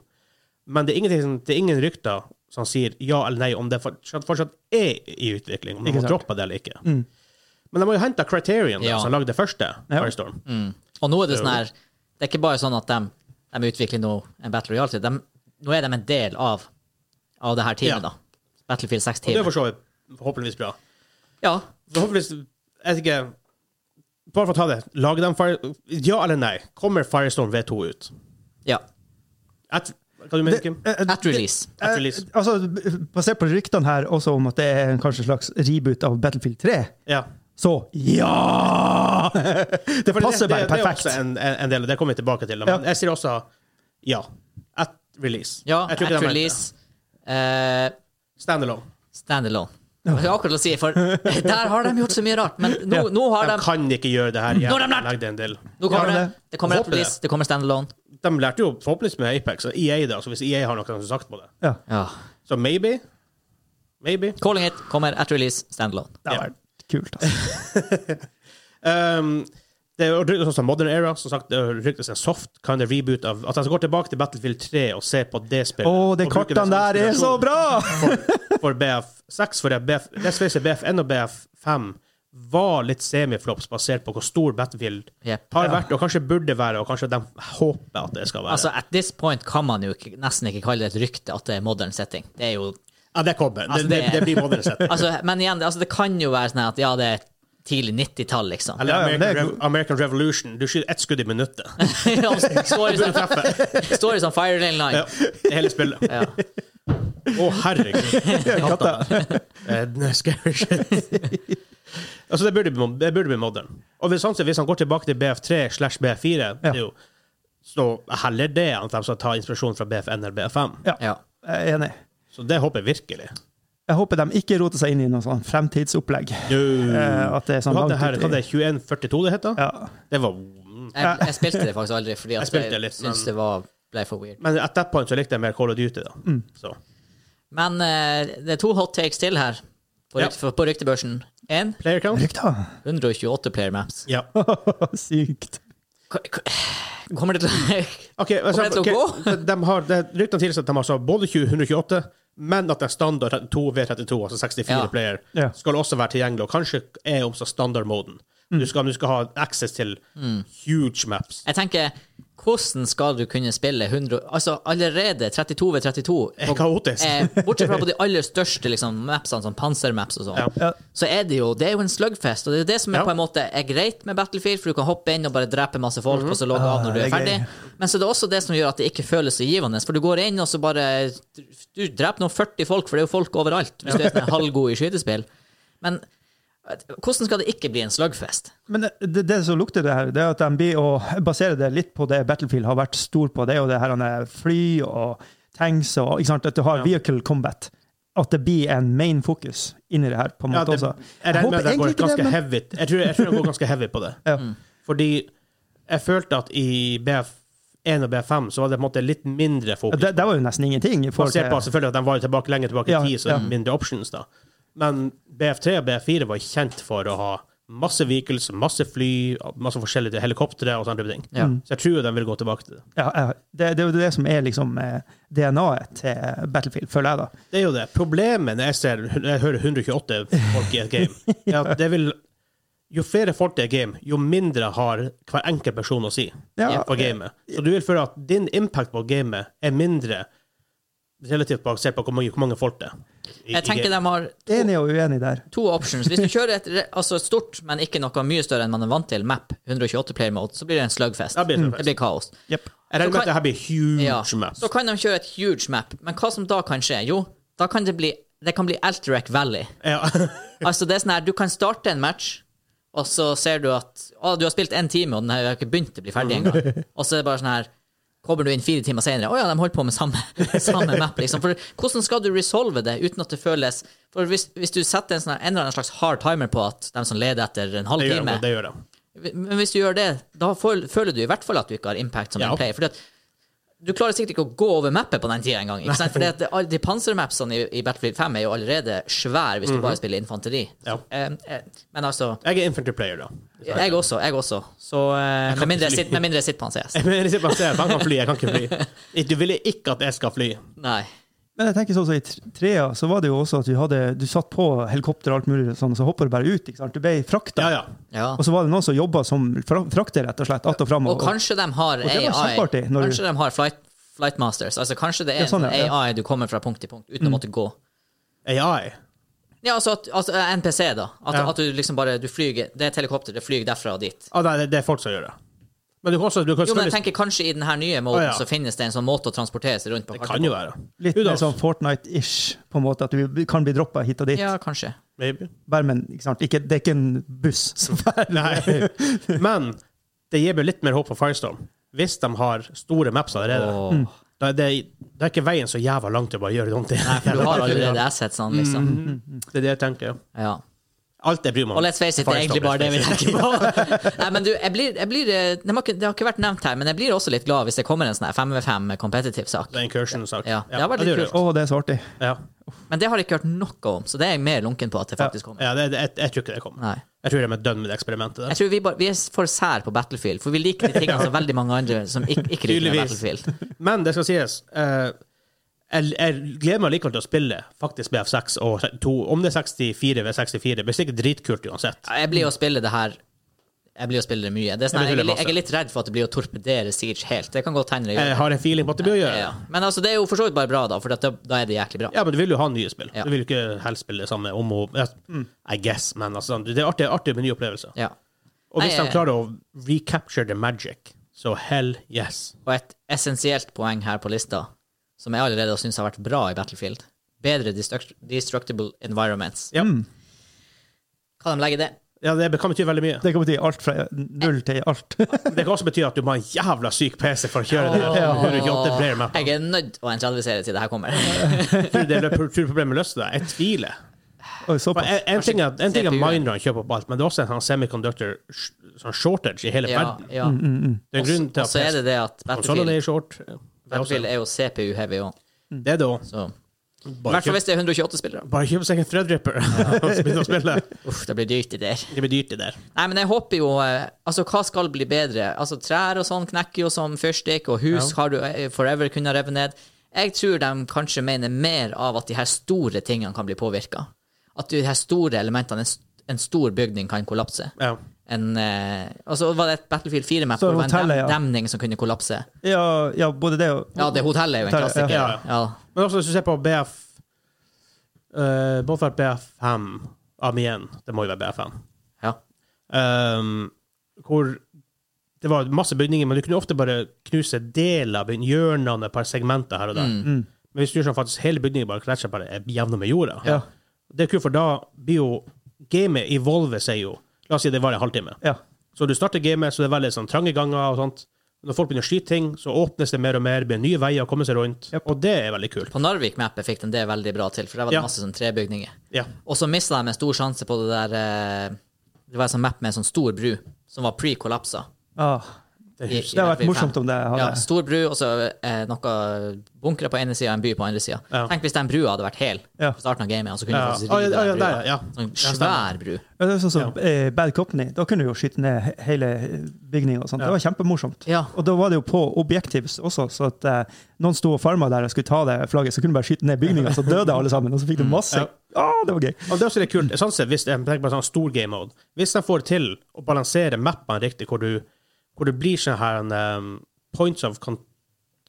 Speaker 1: Men det er, ingenting som- det er ingen rykter som sier ja eller nei om det fortsatt, fortsatt er i utvikling, om de har
Speaker 2: Ikke sant. Mm.
Speaker 1: droppa det eller ikke. Men de har jo henta Criterion, da,
Speaker 3: Ja.
Speaker 1: som lagde det første Firestorm.
Speaker 3: Og nå er det sånn her Det er ikke bare sånn at de, de utvikler nå en Battle Royale. De, nå er de en del av, av det her
Speaker 1: Ja.
Speaker 3: teamet, da. Battlefield
Speaker 1: Det er for
Speaker 2: Mm.
Speaker 3: 6-teamet.
Speaker 1: så vidt forhåpentligvis bra.
Speaker 3: Ja.
Speaker 1: Forhåpentligvis Jeg vet ikke Bare for å ta det. Lager de Fire... Ja eller nei? Kommer Firestorm V2 ut?
Speaker 3: ja.
Speaker 1: At, hva du mener, Kim?
Speaker 3: At release.
Speaker 1: At release.
Speaker 2: Eh, altså, basert på ryktene her også om at det er en kanskje en slags reboot av Battlefield 3,
Speaker 1: Ja.
Speaker 2: så ja! Det
Speaker 1: For det-
Speaker 2: passer
Speaker 1: det-
Speaker 2: bare perfekt.
Speaker 1: Det er også en, en, en del, og det kommer vi tilbake til. Men
Speaker 2: Ja.
Speaker 1: jeg sier også ja. At release.
Speaker 3: Ja,
Speaker 1: Jeg
Speaker 3: at
Speaker 1: tror ikke de mente det.
Speaker 3: release. Eh,
Speaker 1: Standalone.
Speaker 3: Standalone. Jeg skulle akkurat til å si, for der har de gjort så mye rart. Men nå,
Speaker 2: Ja.
Speaker 3: nå har
Speaker 1: De
Speaker 3: de,
Speaker 1: kan ikke gjøre det her.
Speaker 3: Nå har de
Speaker 1: Jeg
Speaker 3: lært!
Speaker 1: lagde en del.
Speaker 3: nå
Speaker 2: Ja,
Speaker 3: kommer det,
Speaker 2: det-
Speaker 3: det kommer
Speaker 1: jeg
Speaker 3: et
Speaker 1: håper det.
Speaker 3: release, det kommer standalone.
Speaker 1: De lærte jo forhåpentligvis med Apex og EA, da, så hvis EA har noe som sagt på det.
Speaker 2: Ja,
Speaker 3: Ja.
Speaker 1: Så maybe. Maybe.
Speaker 3: Calling it kommer at release, standalone.
Speaker 2: det
Speaker 1: Ja.
Speaker 2: var kult, altså.
Speaker 1: Um, det er jo ryktes sånn som Modern Era, som sagt, det ryktes en soft kind of reboot av altså, At han skal gå tilbake til Battlefield 3 og se på det spillet.
Speaker 2: Å, de
Speaker 1: Og bruke det
Speaker 2: kortene
Speaker 1: som
Speaker 2: der er så
Speaker 1: inspirasjon
Speaker 2: bra!
Speaker 1: For, for BF6, for det BF, let's face it, BF1 og BF5 var litt semiflops basert på hvor stor Battlefield
Speaker 3: Yep.
Speaker 1: har vært, og kanskje burde være, og kanskje de håper at det skal være.
Speaker 3: Altså, At this point kan man jo ikke, nesten ikke kalle det et rykte at det er modern setting. Det er jo,
Speaker 1: ja, det kommer.
Speaker 3: altså,
Speaker 1: det,
Speaker 3: det-
Speaker 1: det, det blir Modern sett.
Speaker 3: altså, men igjen, det- altså, det kan jo være sånn at ja, det er tidlig 90-tall, liksom.
Speaker 1: Eller
Speaker 2: Ja, ja,
Speaker 1: American,
Speaker 2: men det er
Speaker 1: Rev American Revolution. Du skyter ett skudd i minuttet.
Speaker 3: Ja, altså, Story som, story som sånn Fire Lane Line.
Speaker 1: Ja, det hele spillet. Å,
Speaker 3: Ja.
Speaker 1: herregud.
Speaker 2: Katta.
Speaker 1: Eh, scary shit. altså, det burde, bli- det burde bli modern. Og hvis han, hvis han går tilbake til BF3 slash BF4, det er jo, så heller det enn at de skal ta inspirasjon fra BF1 eller BF5.
Speaker 3: Ja.
Speaker 2: Ja, jeg er enig.
Speaker 1: Så det håper jeg virkelig.
Speaker 2: Jeg håper de ikke roter seg inn i noe sånn fremtidsopplegg. Eh, At det er
Speaker 1: Du
Speaker 2: sånn
Speaker 1: hadde
Speaker 2: langt
Speaker 1: her, hva
Speaker 2: ut
Speaker 1: det
Speaker 2: i
Speaker 1: er 2142 det heter?
Speaker 2: ja.
Speaker 1: Det var mm.
Speaker 3: Jeg, jeg spilte det faktisk aldri, fordi
Speaker 1: Jeg
Speaker 3: at
Speaker 1: spilte
Speaker 3: jeg,
Speaker 1: litt,
Speaker 3: syntes
Speaker 1: men-
Speaker 3: det var, ble for weird.
Speaker 1: Men at that point så likte jeg mer Call of Duty, da. Så.
Speaker 3: Men eh, det er to hot takes til her på,
Speaker 1: Ja.
Speaker 3: rykt, for- på ryktebørsen. En,
Speaker 1: Player count?
Speaker 2: Rykta!
Speaker 3: 128 player maps.
Speaker 1: Ja.
Speaker 2: Sykt.
Speaker 3: K- k- Kommer det til
Speaker 1: Ok, altså,
Speaker 3: Kommer det til å
Speaker 1: ok, de- de har, det, Ryktene tilsier at de har så både 20 128, men at det er standard 2v32, altså 64
Speaker 3: Ja.
Speaker 1: player,
Speaker 2: Ja.
Speaker 1: skal også være tilgjengelig, og kanskje er også standardmoden. Du, skal, du skal ha access til
Speaker 3: Mm.
Speaker 1: huge maps.
Speaker 3: Jeg tenker, hvordan skal du kunne spille 100 Altså, allerede 32 ved 32
Speaker 1: Er kaotisk.
Speaker 3: eh, Bortsett fra på de aller største liksom, mapsene, sånn pansermaps og sånn,
Speaker 1: Ja.
Speaker 2: Ja.
Speaker 3: så er det jo Det er jo en slugfest, og det er jo det som er
Speaker 1: Ja.
Speaker 3: på en måte er greit med Battlefield, for du kan hoppe inn og bare drepe masse folk,
Speaker 1: Mhm.
Speaker 3: og så logge av når du
Speaker 2: Ah,
Speaker 3: er
Speaker 2: det er
Speaker 3: ferdig. Men så er det også det som gjør at det ikke føles så givende, for du går inn, og så bare Du dreper noen 40 folk, for det er jo folk overalt, hvis du er sånn halvgod i skytespill. Men eh, hvordan skal det ikke bli en slugfest?
Speaker 2: Men det, det, det som lukter det her, det er at de blir å basere det litt på det Battlefield har vært stor på. Det er jo det her han er fly og tanks og ikke sant, At du har vehicle combat. At det blir en main fokus inni det her, på en
Speaker 1: Ja,
Speaker 2: måte
Speaker 1: det,
Speaker 2: også.
Speaker 1: jeg regner med at det går
Speaker 2: egentlig
Speaker 1: ganske
Speaker 2: men-
Speaker 1: heavy jeg tror, jeg tror det går ganske heavy på det.
Speaker 2: Ja.
Speaker 3: Mm.
Speaker 1: Fordi jeg følte at i BF1 og BF5 så var det på en måte litt mindre
Speaker 2: Ja,
Speaker 1: fokus.
Speaker 2: Det, det var jo nesten ingenting. i forhold
Speaker 1: Basert på
Speaker 2: til-
Speaker 1: selvfølgelig at de var jo tilbake lenger tilbake i
Speaker 2: Ja,
Speaker 1: tid, så det er mindre options, da. Men BF3 og BF4 var kjent for å ha masse vehicles, masse fly, masse forskjellige helikoptre og sånne type ting.
Speaker 3: Ja.
Speaker 1: Så jeg tror jo de vil gå tilbake til det.
Speaker 2: Ja, ja, det, det er jo det som er liksom eh, DNA-et til Battlefield, føler jeg, da.
Speaker 1: Det er jo det. Problemet når jeg ser når jeg hører 128 folk i et game, er at det vil jo flere folk det er i game, jo mindre har hver enkelt person å si
Speaker 2: Ja.
Speaker 1: på gamet. Så du vil føle at din impact på gamet er mindre relativt basert på hvor mange, hvor mange folk det er. i-
Speaker 3: Jeg
Speaker 1: i
Speaker 3: tenker
Speaker 1: game.
Speaker 3: de har to,
Speaker 2: Enig og uenig der.
Speaker 3: to options. Hvis du kjører et re- altså et stort, men ikke noe mye større enn man er vant til, map, 128 player mode, så blir det en slugfest.
Speaker 1: Ja, det blir en slugfest.
Speaker 3: det blir kaos.
Speaker 2: Yep.
Speaker 1: Jeg regner med
Speaker 3: Så
Speaker 1: at det her blir huge
Speaker 3: Ja.
Speaker 1: maps.
Speaker 3: Så kan de kjøre et huge map, men hva som da kan skje? Jo, da kan det bli det kan bli Alterac Valley.
Speaker 1: Ja.
Speaker 3: Altså det er sånn her, Du kan starte en match, og så ser du at å, du har spilt en time, og den har ikke begynt å bli ferdig engang. Og så er det bare sånn her Kommer du inn fire timer senere? Å ja, de holder på med samme, samme map, liksom. For hvordan skal du resolve det uten at det føles For hvis, hvis du setter en, sånn, her- en eller annen slags hard timer på at de som leder etter en halv
Speaker 1: Det gjør
Speaker 3: time
Speaker 1: det. det gjør det.
Speaker 3: Men hvis du gjør det, da føl- føler du i hvert fall at du ikke har impact som
Speaker 1: Ja.
Speaker 3: en player. Fordi at du klarer sikkert ikke å gå over mappet på den tida engang. ikke sant? Fordi at det- alle de pansermapsene i, i Battlefield 5 er jo allerede svære hvis du
Speaker 2: Mhm.
Speaker 3: bare spiller infanteri.
Speaker 1: Ja.
Speaker 3: Eh, eh, men altså
Speaker 1: Jeg er infantry player, da.
Speaker 3: Jeg også. jeg også. Så eh, med, mindre jeg sitter, med mindre jeg sitter på en CS.
Speaker 1: Men jeg sitter bare og ser at han kan fly, jeg kan ikke fly. Du ville ikke at jeg skal fly.
Speaker 3: Nei.
Speaker 2: Men jeg tenker sånn som i tr- trea, så var det jo også at vi hadde, du satt på helikopter og alt mulig, sånn, og så hopper du bare ut. ikke sant? Du ble frakta.
Speaker 1: Ja, ja.
Speaker 3: Ja.
Speaker 2: Og så var det noen som jobba som fra- frakter, rett og slett. Att og fram.
Speaker 3: Og kanskje de har
Speaker 2: det var
Speaker 3: AI.
Speaker 2: kjempeartig når du-
Speaker 3: Kanskje de har flight, flight masters. Altså Kanskje det
Speaker 2: Ja,
Speaker 3: er
Speaker 2: Mm. sånn,
Speaker 3: en
Speaker 2: ja, ja.
Speaker 3: AI du kommer fra punkt til punkt uten å måtte gå.
Speaker 1: AI.
Speaker 3: Ja, altså, at, altså eh, NPC, da. At,
Speaker 1: Ja.
Speaker 3: at du liksom bare du flyger, Det er et helikopter, det flyr derfra og dit.
Speaker 1: Ah, nei, det, det er folk som gjør det. Men du kan også du kan
Speaker 3: Jo, men jeg
Speaker 1: selvfølgelig-
Speaker 3: tenker kanskje i den her nye måten
Speaker 1: Å, ja.
Speaker 3: så finnes det en sånn måte å transportere seg rundt på.
Speaker 1: Det kan jo være.
Speaker 2: Litt mer
Speaker 1: Rudolf,
Speaker 2: sånn Fortnite-ish, på en måte, at du kan bli droppa hit og dit.
Speaker 3: Ja, kanskje.
Speaker 1: Maybe.
Speaker 2: Bare, men ikke sant? Ikke, det er ikke en buss som fer.
Speaker 1: Nei. Men det gir meg litt mer håp for Firestorm. Hvis de har store maps allerede. Mm.
Speaker 3: Åh.
Speaker 1: Da er det, det er ikke veien så jævla langt til å bare gjøre det om til.
Speaker 3: For du har allerede assetsene, liksom.
Speaker 1: Mm. Det er det jeg tenker.
Speaker 3: Ja.
Speaker 1: Alt jeg bryr meg
Speaker 3: Og
Speaker 1: om.
Speaker 3: let's face it, det er egentlig bare det vi tenker på. Nei, men du, jeg blir, jeg blir eh, det, har ikke, det har ikke vært nevnt her, men jeg blir også litt glad hvis det kommer en sånn her 5v5 competitive sak.
Speaker 1: Det er incursion-sak.
Speaker 3: Ja, det har vært litt
Speaker 1: gjør
Speaker 2: Å, det er så artig.
Speaker 1: jo. Ja.
Speaker 3: Men det har jeg ikke hørt noe om, så det er jeg mer lunken på at det faktisk kommer.
Speaker 1: Ja, det, det, jeg, jeg tror ikke det kommer.
Speaker 3: Nei.
Speaker 1: Jeg tror de er dønn med det eksperimentet.
Speaker 3: Jeg
Speaker 1: Der.
Speaker 3: tror vi, bare, vi er for sær på Battlefield, for vi liker de tingene som veldig mange andre som ikke, ikke liker med
Speaker 1: Tydeligvis.
Speaker 3: Battlefield.
Speaker 1: Men det skal sies. eh, jeg, jeg gleder meg likevel til å spille faktisk BF6 og 2. Om det er 64 ved 64, det blir sikkert dritkult uansett.
Speaker 3: Ja, Jeg blir jo å spille det her Jeg blir å spille det mye. Det er sånn,
Speaker 1: Jeg
Speaker 3: her,
Speaker 1: blir
Speaker 3: jeg,
Speaker 1: masse.
Speaker 3: jeg er litt redd for at det blir å torpedere Siege helt. Det kan godt hende det gjør.
Speaker 1: Jeg har en feeling på at det blir å gjøre.
Speaker 3: Ja. Men altså, det er jo for så vidt bare bra, da, for at da, da er det jæklig bra.
Speaker 1: Ja, men du vil jo ha nye spill.
Speaker 3: Ja.
Speaker 1: Du vil jo ikke helst spille det samme om og ja, I guess, men altså, det er artig, artig med nye opplevelser.
Speaker 3: Ja.
Speaker 1: Og hvis
Speaker 3: Nei,
Speaker 1: de klarer å recapture the magic, så hell yes.
Speaker 3: Og et essensielt poeng her på lista, som jeg allerede syns har vært bra i Battlefield, bedre destruct destructible environments.
Speaker 1: Ja,
Speaker 2: Mm.
Speaker 3: Hva de legger i det?
Speaker 1: ja det kan bety veldig mye.
Speaker 2: Det kan bety alt fra null til alt.
Speaker 1: Men Det kan også bety at du må ha en jævla syk PC for å kjøre det.
Speaker 3: Åh.
Speaker 1: Ja. Når du ikke alltid player map.
Speaker 3: Jeg er nødt å entradivisere til det her kommer.
Speaker 1: Tror du det tror du problemet løser seg? Jeg tviler.
Speaker 2: Oi,
Speaker 1: For
Speaker 2: såpass.
Speaker 1: En, en ting er, en ting er
Speaker 3: CPU -en.
Speaker 1: Mindrun kjøper opp alt, men det er også en sånn semiconductor sh- sånn shortage i hele
Speaker 3: Ja,
Speaker 1: verden.
Speaker 3: ja.
Speaker 1: Det er en grunn til
Speaker 3: Og
Speaker 1: at
Speaker 3: så er det det at
Speaker 1: konsollene sånn
Speaker 3: Battlefield,
Speaker 1: er short. Det er, også,
Speaker 3: Battlefield er jo CPU-heavy òg,
Speaker 1: det er da.
Speaker 3: så I
Speaker 1: Bare
Speaker 3: hvert fall
Speaker 1: kjøp,
Speaker 3: hvis det er 128 spillere.
Speaker 1: bare kjøp seg en Threadripper og så begynne å spille.
Speaker 3: Uff, det blir dyrt, det der.
Speaker 1: Det blir dyrt, det der.
Speaker 3: Nei, men jeg håper jo eh, Altså, hva skal bli bedre? Altså, trær og sånn knekker jo som fyrstikk, og hus har du eh, forever kunnet reve ned. Jeg tror de kanskje mener mer av at de her store tingene kan bli påvirka. At de her store elementene, en, st en stor bygning, kan kollapse.
Speaker 1: Ja.
Speaker 3: En, eh, altså, var det et Battlefield 4-map
Speaker 2: Så
Speaker 3: hvor det var en dam
Speaker 2: hotellet, ja.
Speaker 3: demning som kunne kollapse?
Speaker 2: Ja, ja, både det og
Speaker 3: Ja, det hotellet er jo en
Speaker 2: Hotellet, ja.
Speaker 3: klassiker.
Speaker 1: Ja,
Speaker 3: Ja.
Speaker 1: Men også hvis du ser på BF uh, Både BF5 Am igjen, det må jo være BF5
Speaker 3: Ja.
Speaker 1: um, Hvor det var masse bygninger Men du kunne ofte bare knuse deler av bygningen, Hjørnene, et par segmenter her og der Men hvis du gjør sånn faktisk hele bygningen Bare klærer seg bare er jevne med jorda
Speaker 2: Ja.
Speaker 1: Det er kult, for da blir jo Gamet evolver seg jo La oss si det var en halvtime
Speaker 2: ja.
Speaker 1: så du starter gamet, så det er veldig sånn trange ganger og sånt. Når folk begynner å skyte ting, så åpnes det mer og mer, blir nye veier å komme seg rundt,
Speaker 2: Yep.
Speaker 1: og det er veldig kult.
Speaker 3: På Narvik-mappet fikk de det veldig bra til, for der var det
Speaker 1: Ja.
Speaker 3: masse sånn trebygninger.
Speaker 1: Ja.
Speaker 3: Og så mista de en stor sjanse på det der eh, Det var en sånn map med en sånn stor bru som var pre-kollapsa.
Speaker 2: Ah,
Speaker 3: i- i
Speaker 2: Det hadde vært
Speaker 3: Battlefield
Speaker 2: morsomt
Speaker 3: 5.
Speaker 2: om det hadde-
Speaker 3: ja, Stor bru og så eh, noen bunkere på ene sida og en by på andre sida.
Speaker 1: Ja.
Speaker 3: Tenk hvis den brua hadde vært hel
Speaker 2: Ja.
Speaker 3: på starten av gamet. Og så kunne
Speaker 1: Ja.
Speaker 3: du faktisk
Speaker 1: Å, ja,
Speaker 3: ride
Speaker 1: ja,
Speaker 3: den
Speaker 1: der,
Speaker 3: brua.
Speaker 1: ja.
Speaker 3: Sånn
Speaker 1: Ja,
Speaker 3: svær bru.
Speaker 2: Ja, det er sånn som eh, Bad Company. Da kunne du jo skyte ned he- hele bygninga.
Speaker 1: Ja.
Speaker 2: Det var kjempemorsomt.
Speaker 3: Ja.
Speaker 2: Og da var det jo på objektivs også, så at eh, noen sto og farma der og skulle ta det flagget, så kunne du bare skyte ned bygninga, så døde alle sammen, og så fikk du masse
Speaker 1: Ja.
Speaker 2: Å, det var gøy!
Speaker 1: Og det er også litt kult, sånn sett, hvis jeg tenker på en sånn stor game mode. Hvis de får til å balansere mappene riktig, hvor du, hvor du blir sånn her en, um, points of con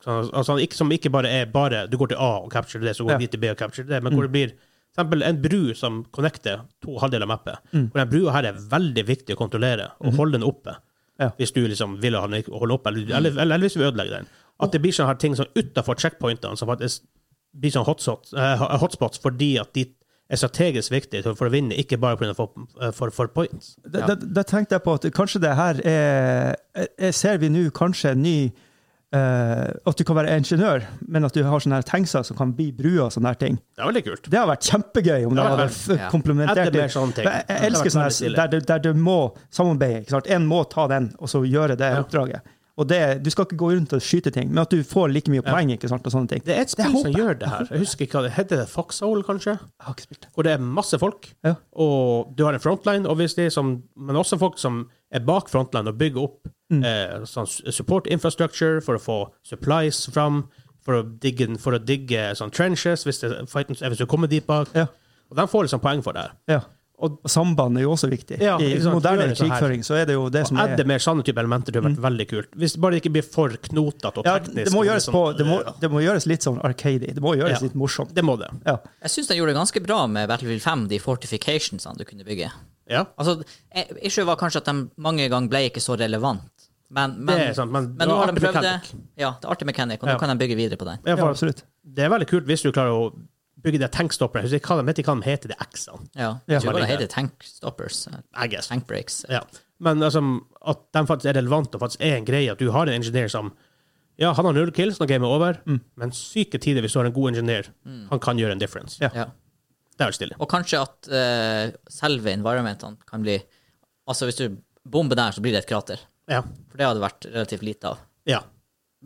Speaker 1: sånn, altså, ikke, Som ikke bare er bare du går til A og capture det, så går
Speaker 2: Ja.
Speaker 1: vi til B og capture det, men hvor det blir for eksempel en bru som connecter to halvdeler av mappet. Hvor den brua her er veldig viktig å kontrollere og holde den oppe.
Speaker 2: Ja.
Speaker 1: Hvis du liksom vil ha den ikke- holde oppe, eller, eller, eller, hvis du vil ødelegge den. At det blir sånne her ting som utenfor checkpointene, som faktisk blir sånn hotspot, eh, hotspots fordi at de er strategisk viktige for- for å vinne, ikke bare for, å få- for, for points.
Speaker 2: Da,
Speaker 3: Ja.
Speaker 2: da, da tenkte jeg på at kanskje det her er eh, Ser vi nå kanskje en ny eh, At du kan være ingeniør, men at du har sånne her tankser som kan bli brua og sånne her ting.
Speaker 1: Det er veldig kult.
Speaker 2: Det har vært kjempegøy
Speaker 1: Det
Speaker 2: om det
Speaker 1: har
Speaker 2: hadde
Speaker 1: vært
Speaker 2: f-
Speaker 3: ja.
Speaker 1: Etter
Speaker 2: komplementert
Speaker 1: mer sånne ting.
Speaker 2: Jeg, jeg
Speaker 1: Det har vært
Speaker 2: elsker sånne
Speaker 1: veldig stilig.
Speaker 2: her, der, du- der du må samarbeide. ikke sant? En må ta den, og så gjøre det
Speaker 1: Ja.
Speaker 2: oppdraget. Og det, Du skal ikke gå rundt og skyte ting, men at du får like mye poeng. ikke sant, og sånne ting.
Speaker 1: Det er et spill
Speaker 2: håper
Speaker 1: som
Speaker 2: jeg.
Speaker 1: gjør det her. Jeg husker ikke hva det heter. det Foxhole, kanskje?
Speaker 2: Jeg har ikke spilt det.
Speaker 1: Hvor det er masse folk,
Speaker 2: Ja.
Speaker 1: og du har en frontline, obviously, som, men også folk som er bak frontline og bygger opp
Speaker 2: Mm.
Speaker 1: eh, sånn s- support infrastructure for å få supplies fram, for å digge, for å digge sånn trenches hvis, det, fighten, hvis du kommer dit bak.
Speaker 2: Ja.
Speaker 1: Og de får liksom poeng for det. her.
Speaker 2: Ja.
Speaker 1: Og-
Speaker 2: Og samband er jo også viktig.
Speaker 1: Ja,
Speaker 2: I
Speaker 1: ikke sant,
Speaker 2: moderne
Speaker 1: gjør det sånn her.
Speaker 2: krigføring så er det jo det som
Speaker 1: Er
Speaker 2: er Mm.
Speaker 1: det mer sånne type elementer, det har vært veldig kult. Hvis det bare ikke blir for knotete og
Speaker 2: ja,
Speaker 1: teknisk.
Speaker 2: det, må
Speaker 1: og
Speaker 2: gjøres
Speaker 1: sånn,
Speaker 2: på, det, må,
Speaker 1: øh,
Speaker 2: det må gjøres litt sånn arcady. Det må gjøres
Speaker 1: Ja.
Speaker 2: litt morsomt.
Speaker 1: det må det.
Speaker 2: Ja.
Speaker 3: Jeg syns den gjorde det ganske bra med Battlefield 5, de fortificationsene du kunne bygge.
Speaker 1: Ja.
Speaker 3: Altså, eh, Issue var kanskje at de mange ganger ble ikke så relevant. Men, men,
Speaker 1: Det er sant, men det
Speaker 3: nå
Speaker 1: var
Speaker 3: har de
Speaker 1: artig
Speaker 3: prøvd det.
Speaker 1: mechanic.
Speaker 3: Ja, det er artig mechanic, og
Speaker 1: Ja.
Speaker 3: nå kan de bygge videre på den.
Speaker 1: Ja,
Speaker 2: ja,
Speaker 1: for
Speaker 2: absolutt.
Speaker 1: Det er veldig kult hvis du klarer å bygge de tankstopperne. Jeg husker ikke hva de- vet ikke hva de heter, de X-ene.
Speaker 3: Ja,
Speaker 2: Ja.
Speaker 3: jeg tror det heter tank stoppers. eh,
Speaker 1: I guess.
Speaker 3: Tank breaks.
Speaker 1: Ja. Men altså, at de faktisk er relevante og faktisk er en greie, at du har en ingeniør som Ja, han har null kills når gamet er over, men syke tider hvis du har en god ingeniør.
Speaker 3: Mm.
Speaker 1: Han kan gjøre en difference.
Speaker 2: Ja.
Speaker 3: Ja.
Speaker 1: Det er jo stille.
Speaker 3: Og kanskje at eh, selve environmentene kan bli Altså, hvis du bomber der, så blir det et krater.
Speaker 1: Ja.
Speaker 3: For det hadde vært relativt lite av.
Speaker 1: ja.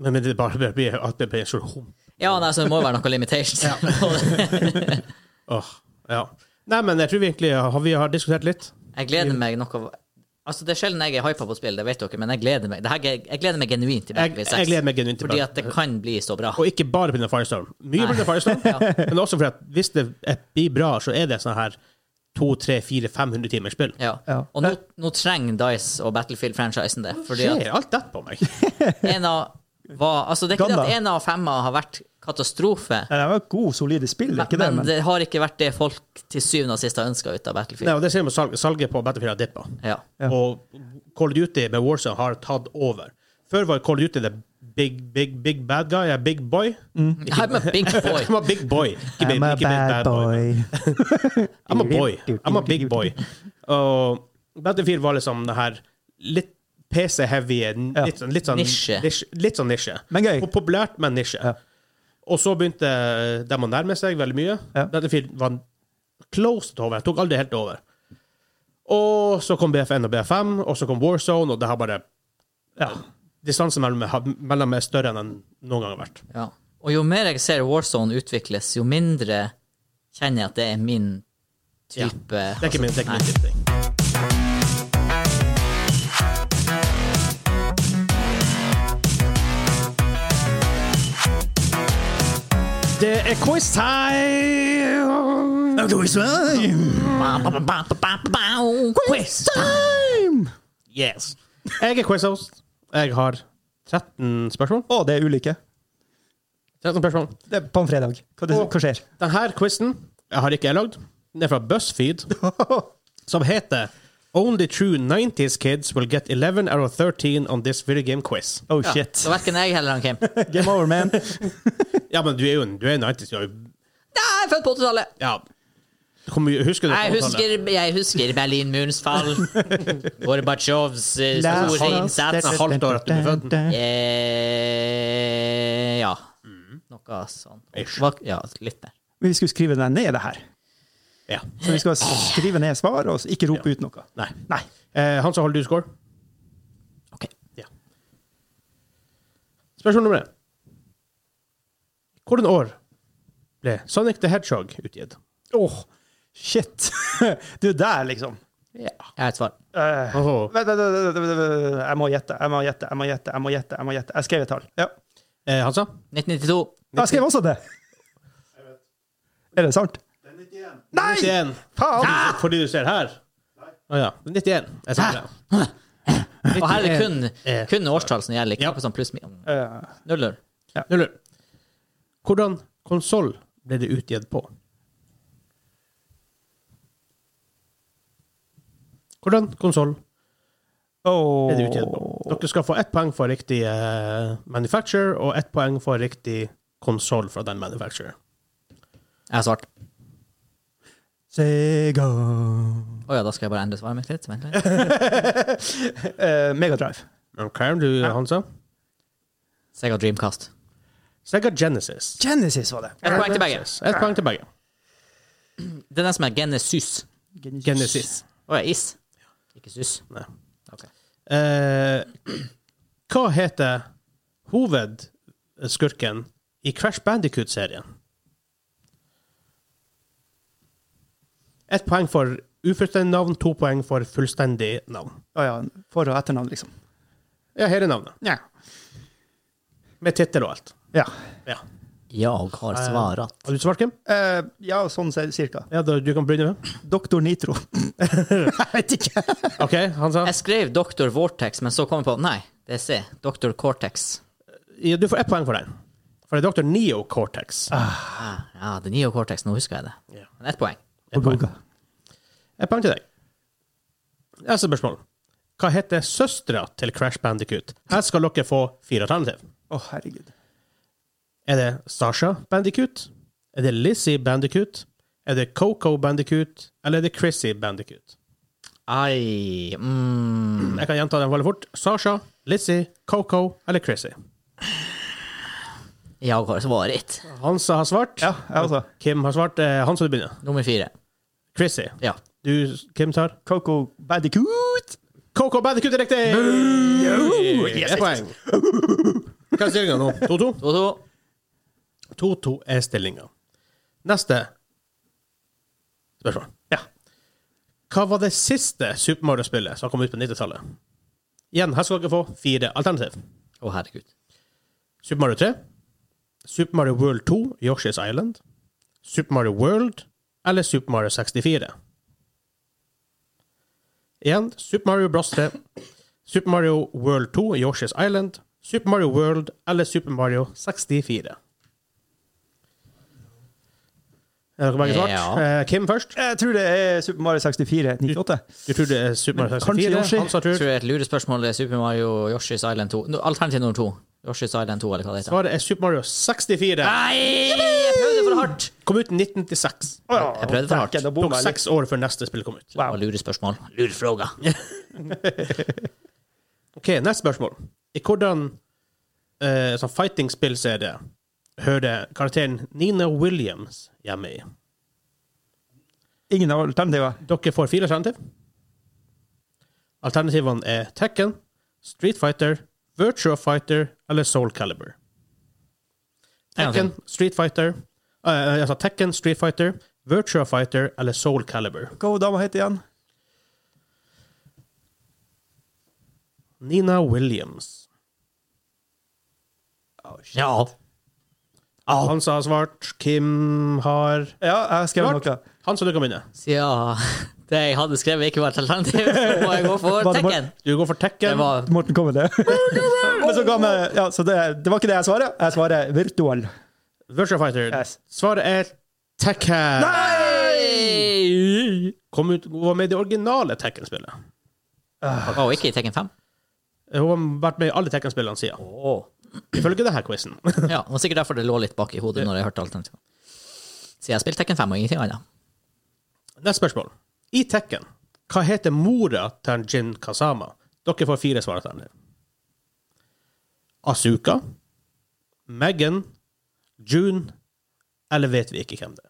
Speaker 1: Men, men det bare blir at det blir så hum.
Speaker 3: Ja, nei, så det må være noe limitations.
Speaker 1: Åh, ja. Nei, men jeg tror virkelig har vi har diskutert litt.
Speaker 3: jeg gleder meg noe Altså, Det er sjelden jeg er hypa på spill, det vet dere, men jeg gleder meg det her, jeg gleder meg genuint til
Speaker 1: Jeg,
Speaker 3: Battlefield 6.
Speaker 1: jeg gleder meg genuint til
Speaker 3: Fordi
Speaker 1: det.
Speaker 3: at det kan bli så bra.
Speaker 1: Og ikke bare pga. Firestorm. Mye pga. Firestorm, men også fordi at hvis det er- blir bra, så er det sånn her 200-300-400-500 timers spill.
Speaker 3: Ja.
Speaker 2: Ja.
Speaker 3: Og nå, nå trenger Dice og Battlefield-franchisen det. Fordi at
Speaker 1: Skjer alt dette på meg?
Speaker 3: en av var, altså Det er ikke det at
Speaker 2: Ganda.
Speaker 3: en av femma har vært katastrofe,
Speaker 2: Ja, det var gode, solide spill,
Speaker 3: men,
Speaker 2: ikke det? Men,
Speaker 3: det har ikke vært det folk til syvende og sist har ønska ut av
Speaker 1: Nei,
Speaker 3: Battlefield.
Speaker 1: og det ser vi på salg, salget på Battlefield har dippa.
Speaker 3: Ja.
Speaker 2: Ja.
Speaker 1: Og Call of Duty med Warzone har tatt over. Før var Call of Duty the big, big, big bad guy, a big boy.
Speaker 3: I'm a big boy.
Speaker 1: I'm a big boy. Ikke big-
Speaker 2: Mm. I'm a
Speaker 1: ikke big
Speaker 2: bad boy.
Speaker 1: I'm a boy. I'm a big boy. Og Battlefield var liksom det her litt PC-heavy, n-
Speaker 2: Ja.
Speaker 1: litt, sånn- litt sånn
Speaker 3: Nisje.
Speaker 1: Litt sånn nisje.
Speaker 2: Men gøy.
Speaker 1: Po- Populært, men nisje.
Speaker 2: Ja.
Speaker 1: Og så begynte eh, de å nærme seg veldig mye.
Speaker 2: Ja.
Speaker 1: Battlefield var close til over. Tok aldri helt over. Og så kom BF1 og BF5, og så kom Warzone, og det har bare
Speaker 2: Ja.
Speaker 1: Distansen mellom, mellom er større enn den noen gang har vært.
Speaker 3: Ja. Og jo mer jeg ser Warzone utvikles, jo mindre kjenner jeg at det er min
Speaker 1: Ja.
Speaker 3: type
Speaker 1: Det er ikke min, det er ikke
Speaker 3: Nei.
Speaker 1: min type ting. Det er quiz time!
Speaker 3: Ba, ba, ba, ba, ba, ba, ba, Quiz!
Speaker 1: Yes. Jeg er quizhost. Jeg har 13 spørsmål.
Speaker 2: Å, det er ulykke.
Speaker 1: 13 spørsmål.
Speaker 2: Det er på en fredag. Hva, det,
Speaker 1: Å.
Speaker 2: hva skjer?
Speaker 1: Denne quizen jeg har ikke jeg lagd. Den er fra BuzzFeed, som heter Only true 90s kids will get 11 out of 13 on this video game quiz.
Speaker 2: Oh
Speaker 3: Ja,
Speaker 2: shit.
Speaker 3: Så verken jeg eller han Kim. Nei,
Speaker 2: Game over, man.
Speaker 1: Ja, men du er jo en, du er en 90s, du er jo-
Speaker 3: jeg er født på 80-tallet!
Speaker 1: Ja. Hvor mye husker du?
Speaker 3: Jeg
Speaker 1: på åttallet?
Speaker 3: husker, jeg husker Berlinmurens fall. Gorbatsjovs eh, store innsats.
Speaker 1: halvt år etter du ble født.
Speaker 3: Eh, ja. Noe sånn.
Speaker 1: Ish.
Speaker 3: Hva- Ja, litt der.
Speaker 2: Vi skulle skrive den ned, det her.
Speaker 1: Ja.
Speaker 2: Så vi skal skrive ned svar og ikke rope ut noe.
Speaker 1: Nei.
Speaker 2: Nei.
Speaker 1: Eh, han som holder du score?
Speaker 3: Ok.
Speaker 1: Ja. Spørsmål nummer én. Hvilket år ble Sonic the Hedgehog utgitt?
Speaker 2: Åh, shit. du, der, liksom.
Speaker 1: Ja.
Speaker 3: Jeg har et svar.
Speaker 2: Eh,
Speaker 1: Åhå.
Speaker 2: vent, vent, vent, vent, vent, vent. Jeg må gjette, jeg må gjette, jeg må gjette. Jeg må gjette, jeg må gjette. Jeg skrev et tall. Ja.
Speaker 1: Eh, Hansa?
Speaker 3: 1992.
Speaker 2: Jeg skrev også det. Er det sant? Nei!
Speaker 1: 91.
Speaker 2: Faen!
Speaker 1: Fordi du ser her? Å ja. 91. Jeg sa det.
Speaker 3: Og her er det kun,
Speaker 1: Eh.
Speaker 3: kun årstall som gjelder. Ikke
Speaker 1: Ja.
Speaker 3: noe sånn pluss min.
Speaker 2: Eh,
Speaker 3: Null null.
Speaker 1: Nuller. Hvordan konsoll ble det utgitt på? Hvordan konsoll
Speaker 2: åh. oh.
Speaker 1: ble det utgitt på? Dere skal få ett poeng for riktig eh, manufacturer og ett poeng for riktig konsoll fra den manufacturer.
Speaker 3: Jeg har svart.
Speaker 2: Sega.
Speaker 3: Å ja, da skal jeg bare endre svaret mitt litt. Vent litt.
Speaker 2: Eh, Megadrive.
Speaker 1: OK, du, Hansa?
Speaker 3: Sega Dreamcast.
Speaker 1: Sega Genesis.
Speaker 2: Genesis var det.
Speaker 3: Ett poeng til begge.
Speaker 1: Genesis. Ett poeng til begge.
Speaker 3: Det er den som er Genesis.
Speaker 1: Genesis.
Speaker 3: Å ja, is. Ikke sus.
Speaker 1: Nei.
Speaker 3: Ok.
Speaker 1: Eh, hva heter hovedskurken i Crash Bandicoot-serien? Ett poeng for ufullstendig navn, to poeng for fullstendig navn.
Speaker 2: Å ja. For- og etternavn, liksom.
Speaker 1: Ja, hele navnet.
Speaker 2: Ja.
Speaker 1: Med tittel og alt.
Speaker 2: Ja,
Speaker 1: Ja.
Speaker 3: Jeg har svaret.
Speaker 1: Har du svart, Kim?
Speaker 2: Eh, ja sånn se- cirka.
Speaker 1: Ja, da, du kan begynne med.
Speaker 2: Doktor Nitro. jeg vet ikke.
Speaker 1: OK, han sa
Speaker 3: Jeg skrev Dr. Vortex, men så kom jeg på Nei, det er C. Dr. Cortex.
Speaker 1: ja, Du får ett poeng for den. For det er Dr. Neo Cortex.
Speaker 3: Ah, ja, det er Neo Cortex. Nå husker jeg det.
Speaker 1: Ja.
Speaker 3: Men ett poeng.
Speaker 1: Ett poeng. Et poeng til deg. Neste spørsmål. Hva heter søstera til Crash Bandicoot? Her skal dere få fire alternativ.
Speaker 2: Å, herregud.
Speaker 1: Er det Sasha Bandicoot? Er det Lizzie Bandicoot? Er det Coco Bandicoot? Eller er det Chrissy Bandicoot?
Speaker 3: Ai mm.
Speaker 1: Jeg kan gjenta dem veldig fort. Sasha, Lizzie, Coco eller Chrissy?
Speaker 3: Jeg har svaret.
Speaker 1: Hansa har svart.
Speaker 2: Ja, jeg også.
Speaker 1: Kim har svart. Eh, Hansa, du begynner.
Speaker 3: Nummer fire.
Speaker 1: Chrissy.
Speaker 3: Ja.
Speaker 1: Du, Kim tar?
Speaker 2: Coco Bandicoot.
Speaker 1: Coco Bandicoot er riktig! Ett poeng. Hva er stillinga nå? 2-2?
Speaker 3: To, to.
Speaker 1: 2-2 er stillinga. Neste spørsmål.
Speaker 2: Ja.
Speaker 1: Hva var det siste Super Mario-spillet som kom ut på 90-tallet? Igjen, her skal dere få fire alternativ.
Speaker 3: Å, herregud.
Speaker 1: Super Mario 3, Super Mario World 2, Yoshi's Island, Super Mario World eller Super Mario 64. Igjen, Super Mario Bros 3, Super Mario World 2, Yoshi's Island, Super Mario World eller Super Mario 64. Er dere begge svart?
Speaker 3: Ja.
Speaker 1: Eh, Kim først.
Speaker 2: Jeg tror det er Super Mario 64 98.
Speaker 1: Du tror det er Super Mario
Speaker 2: kanskje
Speaker 1: 64?
Speaker 2: Yoshi?
Speaker 1: Hans har tur.
Speaker 3: Tror jeg et lurespørsmål er Super Mario Yoshi's Island 2. No, Alternativ nummer to. Yoshi's Island 2, eller hva det heter.
Speaker 1: Svaret er Super Mario 64.
Speaker 3: Nei! Jeg prøvde for hardt!
Speaker 1: Kom ut i 1996.
Speaker 2: Åh,
Speaker 3: Jeg prøvde for hardt.
Speaker 2: dæken, da bommer
Speaker 1: Tok
Speaker 2: jeg litt.
Speaker 1: seks år før neste spill kom ut.
Speaker 3: Det var lurespørsmål. Lurefråga.
Speaker 1: Ok, neste spørsmål. I hvordan eh, sånn fighting-spillserie hører karakteren Nina Williams hjemme i?
Speaker 2: Ingen alternativer.
Speaker 1: Dere får fire alternativ. Alternativene er Tekken, Street Fighter, Virtua Fighter eller Soul Calibur.
Speaker 3: En gang til.
Speaker 1: Tekken, Street Fighter eh, Altså Tekken, Street Fighter, Virtua Fighter eller Soul Calibur.
Speaker 2: Hva hun dama heter igjen?
Speaker 1: Nina Williams.
Speaker 3: Ja.
Speaker 1: Hans har svart. Kim har
Speaker 2: Ja, jeg skrev
Speaker 1: Svart.
Speaker 2: noe.
Speaker 1: Hansa, du kan begynne.
Speaker 3: ja. Det jeg hadde skrevet, ikke var et alternativ, så må jeg gå for
Speaker 2: Var det bare-
Speaker 3: Tekken.
Speaker 1: Du går for
Speaker 3: Det
Speaker 1: Tekken.
Speaker 3: var
Speaker 2: Morten kom med det. Men så ga meg Ja, så det, det var ikke det jeg svarer. Jeg svarer virtual.
Speaker 1: Virtua Fighter.
Speaker 2: Yes.
Speaker 1: Svaret er Tekken.
Speaker 3: Nei!
Speaker 1: Kom ut, hun var med i det originale Tekken-spillet.
Speaker 3: Og ikke i Tekken 5.
Speaker 1: Hun har vært med i alle Tekken-spillene siden. Ifølge denne quizen.
Speaker 3: Ja, det var sikkert derfor det lå litt bak i hodet når jeg hørte alternativene. Så jeg spilte Tekken 5 og ingenting annet.
Speaker 1: Neste spørsmål. I Tekken, hva heter mora til Jin Kazama? Dere får fire svar etter den. Asuka, Megan, June, eller vet vi ikke hvem det er?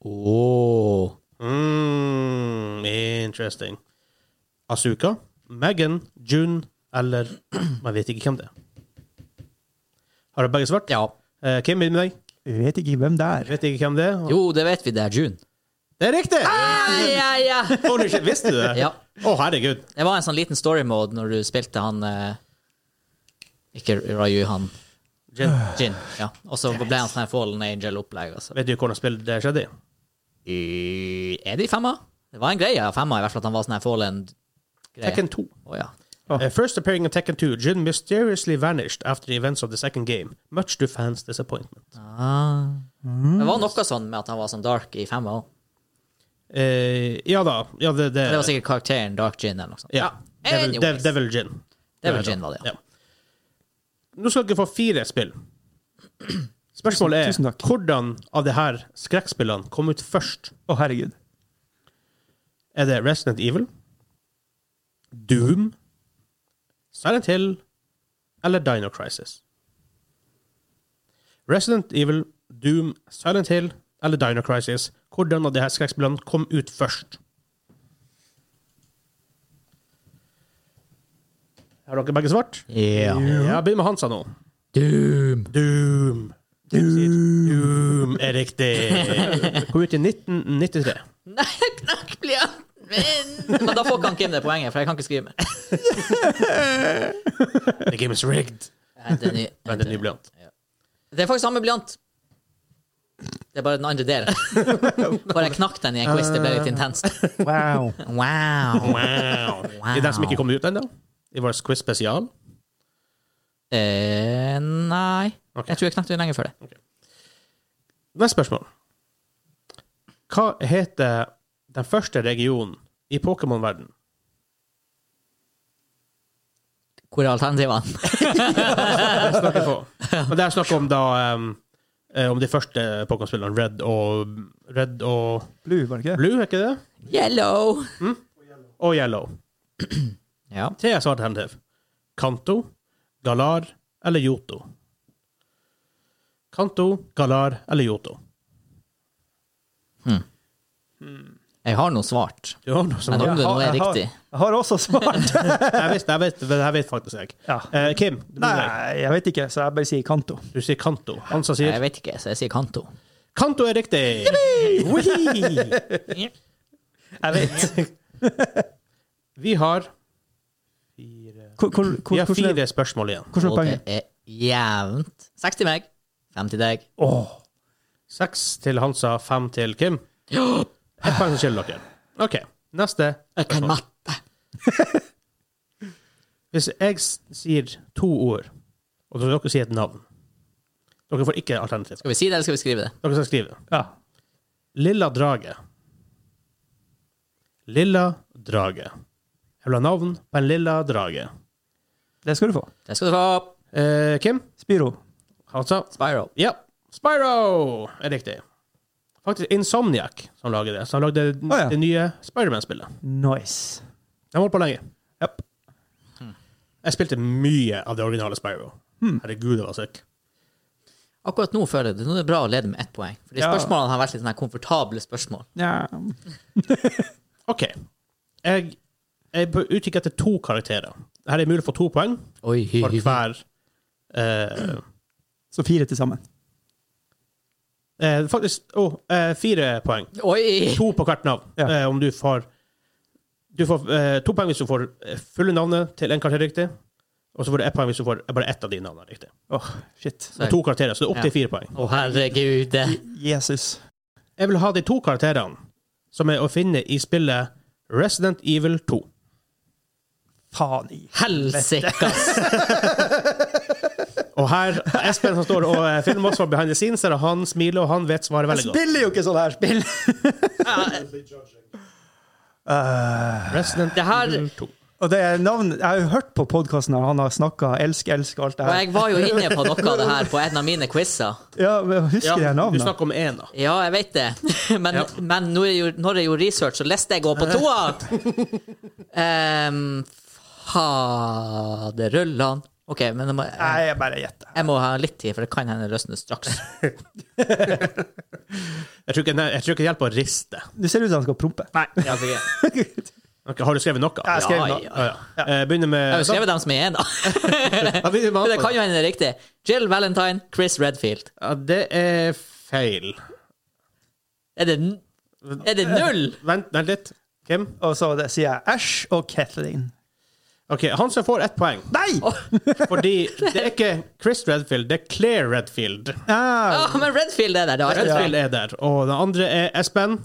Speaker 3: Oh.
Speaker 1: Mm, interesting. Asuka, Megan, June eller Man vet ikke hvem det er. Har dere begge svart?
Speaker 3: Ja.
Speaker 1: Eh, Kim, begynn med deg.
Speaker 2: Jeg vet ikke hvem det er.
Speaker 1: Vet ikke hvem det er.
Speaker 3: Jo, det vet vi, det er June.
Speaker 1: Det er riktig!
Speaker 3: Ja, ja, ja.
Speaker 1: Holy shit, visste du det?
Speaker 3: Ja.
Speaker 1: Å, herregud.
Speaker 3: Det var en sånn liten story mode når du spilte han eh, Ikke Raju, han
Speaker 1: Jin,
Speaker 3: Jin. Ja. Og så ble han sånn her Fallen Angel-opplegg. Altså.
Speaker 1: vet du hvordan spillet det skjedde i?
Speaker 3: Eh, Er de femma? Det var en greie av femma, i hvert fall at han var sånn her Fallen greie.
Speaker 1: Tekken 2.
Speaker 3: Å, ja.
Speaker 1: Uh, first appearing in Tekken 2, Jin mysteriously vanished after the events of the second game, much to fans' disappointment.
Speaker 3: ah. Det var noe sånn med at han var sånn dark i femma òg.
Speaker 1: Eh, ja da. Ja, det, det,
Speaker 3: Det var sikkert karakteren Dark Gin eller noe sånt.
Speaker 1: ja. Devil,
Speaker 3: Anyways.
Speaker 1: Dev- Devil Jin.
Speaker 3: Devil Jin var det, ja.
Speaker 1: Ja. Nå skal dere få fire spill. Spørsmålet er
Speaker 2: Tusen- tusen takk.
Speaker 1: hvordan av de her skrekkspillene kom ut først?
Speaker 2: Å, herregud.
Speaker 1: Er det Resident Evil, Doom, Silent Hill eller Dino Crisis? Resident Evil, Doom, Silent Hill eller Dino Crisis. Hvordan av de her skrekkspillene kom ut først? Har dere begge svart? Ja, Begynn med Hansa nå.
Speaker 3: Doom.
Speaker 1: Doom. Doom er riktig. Kom ut i 1993.
Speaker 3: Nei, knakk blyanten min! Men da får ikke han Kim det poenget, for jeg kan ikke skrive mer.
Speaker 1: The game is rigged.
Speaker 3: Nei, det er ny-
Speaker 1: Vent, en ny blyant.
Speaker 3: Det er faktisk samme blyant. Det er bare den andre delen. Bare jeg knakk den i en quiz, det ble litt intenst.
Speaker 2: Wow.
Speaker 3: Eh. Wow.
Speaker 1: Wow. Eh, Det er den som ikke kom ut ennå. I vår quiz spesial.
Speaker 3: Eh, nei.
Speaker 1: Ok.
Speaker 3: Jeg tror jeg knakk den lenge før det.
Speaker 1: Neste spørsmål. Hva heter den første regionen i Pokémon-verden?
Speaker 3: Hvor er alternativene?
Speaker 1: Jeg snakker på. Men det er snakk om da um, eh, om de første Pokémon-spillerne, Red og, Red og
Speaker 2: Blue, var det ikke det?
Speaker 1: Blue, er ikke det?
Speaker 3: Yellow.
Speaker 1: Og Yellow.
Speaker 3: Ja.
Speaker 1: Tre er svart alternativ. Kanto, Galar eller Yoto? Kanto, Galar eller Yoto?
Speaker 3: Jeg har nå svart.
Speaker 1: Du har noe som
Speaker 3: Nei,
Speaker 1: jeg,
Speaker 3: nå- det
Speaker 2: har,
Speaker 3: er
Speaker 2: jeg, har,
Speaker 3: riktig.
Speaker 2: jeg har også svart.
Speaker 1: vet, jeg, vet, det her vet faktisk jeg.
Speaker 2: Ja.
Speaker 1: Eh, Kim, det blir
Speaker 2: Nei,
Speaker 1: deg.
Speaker 2: jeg vet ikke, så jeg bare sier Kanto.
Speaker 1: du sier Kanto. Hansa sier
Speaker 3: Jeg vet ikke, så jeg sier Kanto.
Speaker 1: Kanto er riktig!
Speaker 2: Jeg vet.
Speaker 1: Vi har fire,
Speaker 2: Hvor, hvor,
Speaker 1: vi
Speaker 2: hvor,
Speaker 1: har
Speaker 2: hvordan er
Speaker 1: fire spørsmål igjen.
Speaker 2: hvordan er
Speaker 3: Og det
Speaker 2: poenget?
Speaker 3: er jevnt. 60 meg, 50 deg.
Speaker 2: Åh,
Speaker 1: Seks til Hansa, fem til Kim. Ett poeng som skiller dere. OK. Neste.
Speaker 3: Jeg kan matte.
Speaker 1: Hvis jeg s- sier to ord, og så skal dere si et navn Dere får ikke alternativ.
Speaker 3: Skal vi si det, eller skal vi skrive det?
Speaker 1: Dere skal skrive.
Speaker 2: ja.
Speaker 1: Lilla Drage. Lilla Drage. Jeg vil ha navn på en lilla drage.
Speaker 2: Det skal du få.
Speaker 3: Det skal du få.
Speaker 1: Eh, Kim?
Speaker 2: Spyro.
Speaker 1: Hansa?
Speaker 3: Spiral.
Speaker 1: Altså, Ja. Spyro er riktig. Faktisk Insomniac som lager det. Som lagde
Speaker 2: Å, ja.
Speaker 1: det nye Spiderman-spillet.
Speaker 2: Nice.
Speaker 1: De holdt på lenge.
Speaker 2: Japp.
Speaker 1: Jeg spilte mye av det originale Spyro.
Speaker 2: Hmm.
Speaker 1: Herregud, det var sick.
Speaker 3: Akkurat nå føler jeg det. Nå er det bra å lede med ett poeng. Fordi
Speaker 2: Ja.
Speaker 3: spørsmålene har vært litt sånne her komfortable spørsmål.
Speaker 2: Ja.
Speaker 1: OK. Jeg jeg er på utkikk etter to karakterer. Her er det mulig å få to poeng
Speaker 3: Oi, hy,
Speaker 1: for
Speaker 3: hy, hy.
Speaker 1: hver eh,
Speaker 2: Så fire til sammen.
Speaker 1: eh, Faktisk å, eh, fire poeng.
Speaker 3: Oi!
Speaker 1: To på hvert navn.
Speaker 2: Ja.
Speaker 1: Eh, om du får Du får eh, to poeng hvis du får eh, fulle navnet til en karakter riktig. Og så får du ett poeng hvis du får bare ett av de navnene riktig.
Speaker 2: Åh, shit.
Speaker 1: Det er to karakterer, så det er opp til fire poeng.
Speaker 3: Å, herregud.
Speaker 2: Jesus.
Speaker 1: Jeg vil ha de to karakterene som er å finne i spillet Resident Evil 2.
Speaker 2: Faen i.
Speaker 3: Helsike, ass.
Speaker 1: Og her Espen som står og eh, filmer oss fra behind the scenes, der han smiler, og han vet svaret veldig godt.
Speaker 2: Spiller jo ikke sånn her spill! Eh,
Speaker 1: Resident
Speaker 3: Det her-
Speaker 1: Evil 2.
Speaker 2: og det er navn Jeg har jo hørt på podkasten der han har snakka 'elsk, elsk' og alt det
Speaker 3: Og
Speaker 2: her.
Speaker 3: jeg var jo inne på noe av det her på en av mine quizer.
Speaker 2: Ja, men Husker jeg
Speaker 1: du
Speaker 2: navnet?
Speaker 1: snakker om én, da.
Speaker 3: Ja, jeg vet det. Men,
Speaker 1: Ja.
Speaker 3: men når, jeg gjorde, når jeg gjorde research, så leste jeg òg på toa! Um, Faderullan. OK, men jeg må,
Speaker 2: Nei, jeg bare gjetter.
Speaker 3: jeg må ha litt tid, for det kan hende løsne straks.
Speaker 1: Jeg tror ikke, nei, jeg tror ikke det hjelper å riste.
Speaker 2: Du ser ut som han skal prompe.
Speaker 3: Nei.
Speaker 1: Ok, har du skrevet noe?
Speaker 2: Jeg skrev
Speaker 3: Ja,
Speaker 2: noe.
Speaker 1: Ja,
Speaker 3: ja.
Speaker 1: ja. Eh, Begynner med
Speaker 3: Jeg har jo skrevet dem som er én, da.
Speaker 1: Ja, begynner med
Speaker 3: Men det
Speaker 1: Anton.
Speaker 3: kan jo hende det er riktig. Jill Valentine, Chris Redfield.
Speaker 1: Ja, det er feil.
Speaker 3: Er det, n- er det null?
Speaker 1: Vent, vent litt. Hvem?
Speaker 2: Og så det sier jeg Ash og Kathleen.
Speaker 1: OK, han som får ett poeng.
Speaker 2: Nei!
Speaker 1: Fordi det er ikke Chris Redfield, det er Claire Redfield.
Speaker 2: Ah,
Speaker 3: Ah, men Redfield er der, da.
Speaker 1: Redfield er der. Og den andre er Espen.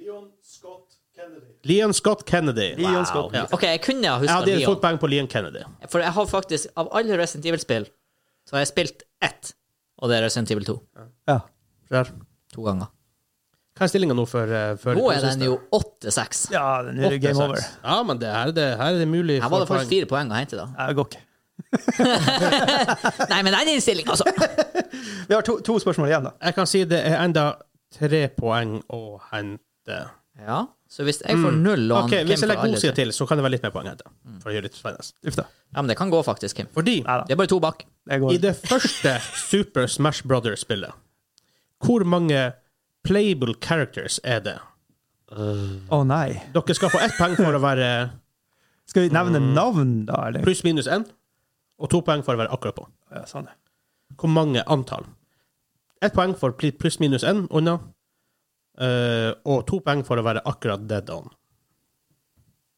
Speaker 4: Leon Scott Kennedy.
Speaker 1: Leon Scott Kennedy.
Speaker 2: Leon Scott.
Speaker 1: Ja.
Speaker 3: OK, jeg kunne ha
Speaker 1: Jeg
Speaker 3: huska
Speaker 1: hadde
Speaker 3: Leon.
Speaker 1: fått poeng på Leon Kennedy.
Speaker 3: For jeg har faktisk, av alle Resident Evil-spill, så har jeg spilt ett, og det er Resident Evil 2.
Speaker 2: ja.
Speaker 1: Der.
Speaker 3: To ganger.
Speaker 1: Hva er stillinga nå for, eh, for
Speaker 3: Nå er den jo 8-6.
Speaker 2: ja, nå er det game over.
Speaker 1: Ja, men det her, er det, her er det mulig
Speaker 3: Her var det faktisk fire poeng å hente, da.
Speaker 2: Jeg går ikke.
Speaker 3: Nei, men den innstillinga, altså!
Speaker 2: Vi har to, to spørsmål igjen, da.
Speaker 1: Jeg kan si det er enda tre poeng å hente.
Speaker 3: Ja, så hvis Mm. jeg får null, og han
Speaker 1: Ok, Hvis
Speaker 3: Kim
Speaker 1: jeg
Speaker 3: får
Speaker 1: legger
Speaker 3: alle
Speaker 1: godsida
Speaker 3: tre
Speaker 1: til, så kan det være litt mer poeng å hente. For å gjøre det litt spennende.
Speaker 2: Uff da.
Speaker 3: Ja, men det kan gå, faktisk, Kim.
Speaker 1: Fordi
Speaker 2: Neida.
Speaker 3: Det er bare to bak.
Speaker 2: Jeg går.
Speaker 1: I det første Super Smash Brothers-spillet, hvor mange playable characters er det?
Speaker 2: Å nei.
Speaker 1: Dere skal få ett poeng for å være
Speaker 2: Skal vi nevne navn, da? Eller?
Speaker 1: pluss minus én, og to poeng for å være akkurat på.
Speaker 2: Ja, sånn.
Speaker 1: Hvor mange antall? Ett poeng for pl- pluss minus én unna, eh, og to poeng for å være akkurat dead on.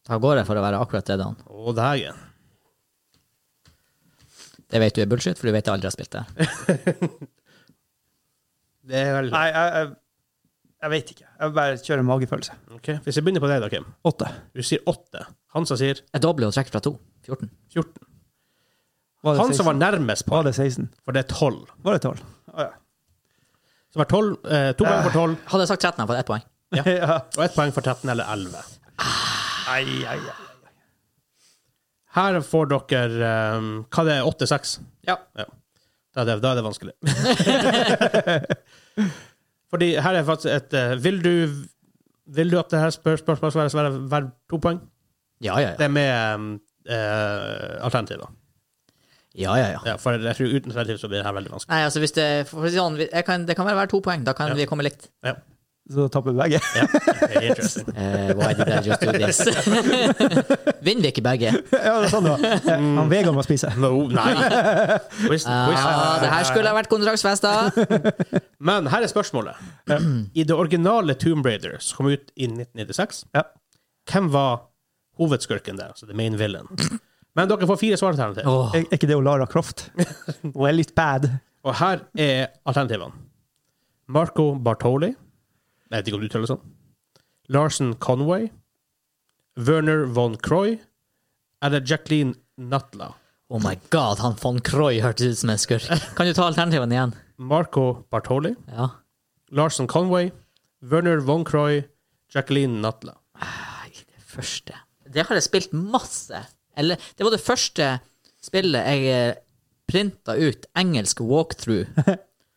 Speaker 3: Da går jeg for å være akkurat det, Dan.
Speaker 1: Og det her igjen.
Speaker 3: Det vet du er bullshit, for du vet jeg aldri har spilt det.
Speaker 1: Det er vel
Speaker 2: Nei, jeg, jeg, jeg vet ikke. Jeg bare kjører magefølelse.
Speaker 1: Ok, Hvis jeg begynner på deg, da, Kim.
Speaker 2: Åtte.
Speaker 1: Du sier åtte. Han som sier
Speaker 3: Jeg dobler og trekker fra to. 14.
Speaker 1: 14.
Speaker 2: Var det
Speaker 1: Han
Speaker 2: 16?
Speaker 1: som var nærmest på,
Speaker 2: Var det 16?
Speaker 1: for det er 12.
Speaker 2: Var det 12? Å ja.
Speaker 1: Så var 12 eh, to poeng for 12,
Speaker 3: Hadde jeg sagt 13, hadde jeg fått ett poeng.
Speaker 1: Ja.
Speaker 2: ja. Ah.
Speaker 1: og ett poeng for 13 eller 11.
Speaker 2: Ai, ai, ai.
Speaker 1: Her får dere um, Hva det er 8-6?
Speaker 3: Ja.
Speaker 1: Da er det, da er det vanskelig. Fordi her er faktisk et eh, Vil du Vil du at det her spør, spørsmålet skal være- skal være hver to poeng?
Speaker 3: Ja, ja, ja.
Speaker 1: Det er med um, eh, alternativer.
Speaker 3: ja, ja, ja.
Speaker 1: Ja, for jeg tror uten alternativ så blir det her veldig vanskelig.
Speaker 3: Nei, altså hvis det for å si sånn, jeg kan, Det kan være hver to poeng. Da kan
Speaker 1: Ja.
Speaker 3: vi komme likt.
Speaker 1: Ja.
Speaker 2: Så da tapper vi begge.
Speaker 1: ja. Interesting.
Speaker 3: Eh, why did I just do this? Vinner vi ikke begge?
Speaker 2: ja, det er sånn det var. Ja, Han Vegard må spise.
Speaker 1: No, nei. Quiz, quiz.
Speaker 3: Ah, det her skulle ha vært kontraktsfesta.
Speaker 1: Men her er spørsmålet. I det originale Tomb Raider, som kom ut i 1996,
Speaker 2: Ja.
Speaker 1: hvem var hovedskurken der? Altså the main villain. Men dere får fire svaralternativer.
Speaker 3: Åh.
Speaker 2: Er er ikke det jo Lara Croft? Hun er litt bad.
Speaker 1: Og her er alternativene. Marco Bartoli. Jeg vet ikke om du uttaler det sånn. Larsen Conway. Werner von Croy. Eller Jacqueline Natla.
Speaker 3: Oh my god, han von Croy hørtes ut som en skurk. Kan du ta alternativene igjen?
Speaker 1: Marco Bartoli.
Speaker 3: Ja.
Speaker 1: Larsen Conway. Werner von Croy. Jacqueline Natla.
Speaker 3: Nei, det første Det har jeg spilt masse. Eller, det var det første spillet jeg eh, printa ut engelsk walkthrough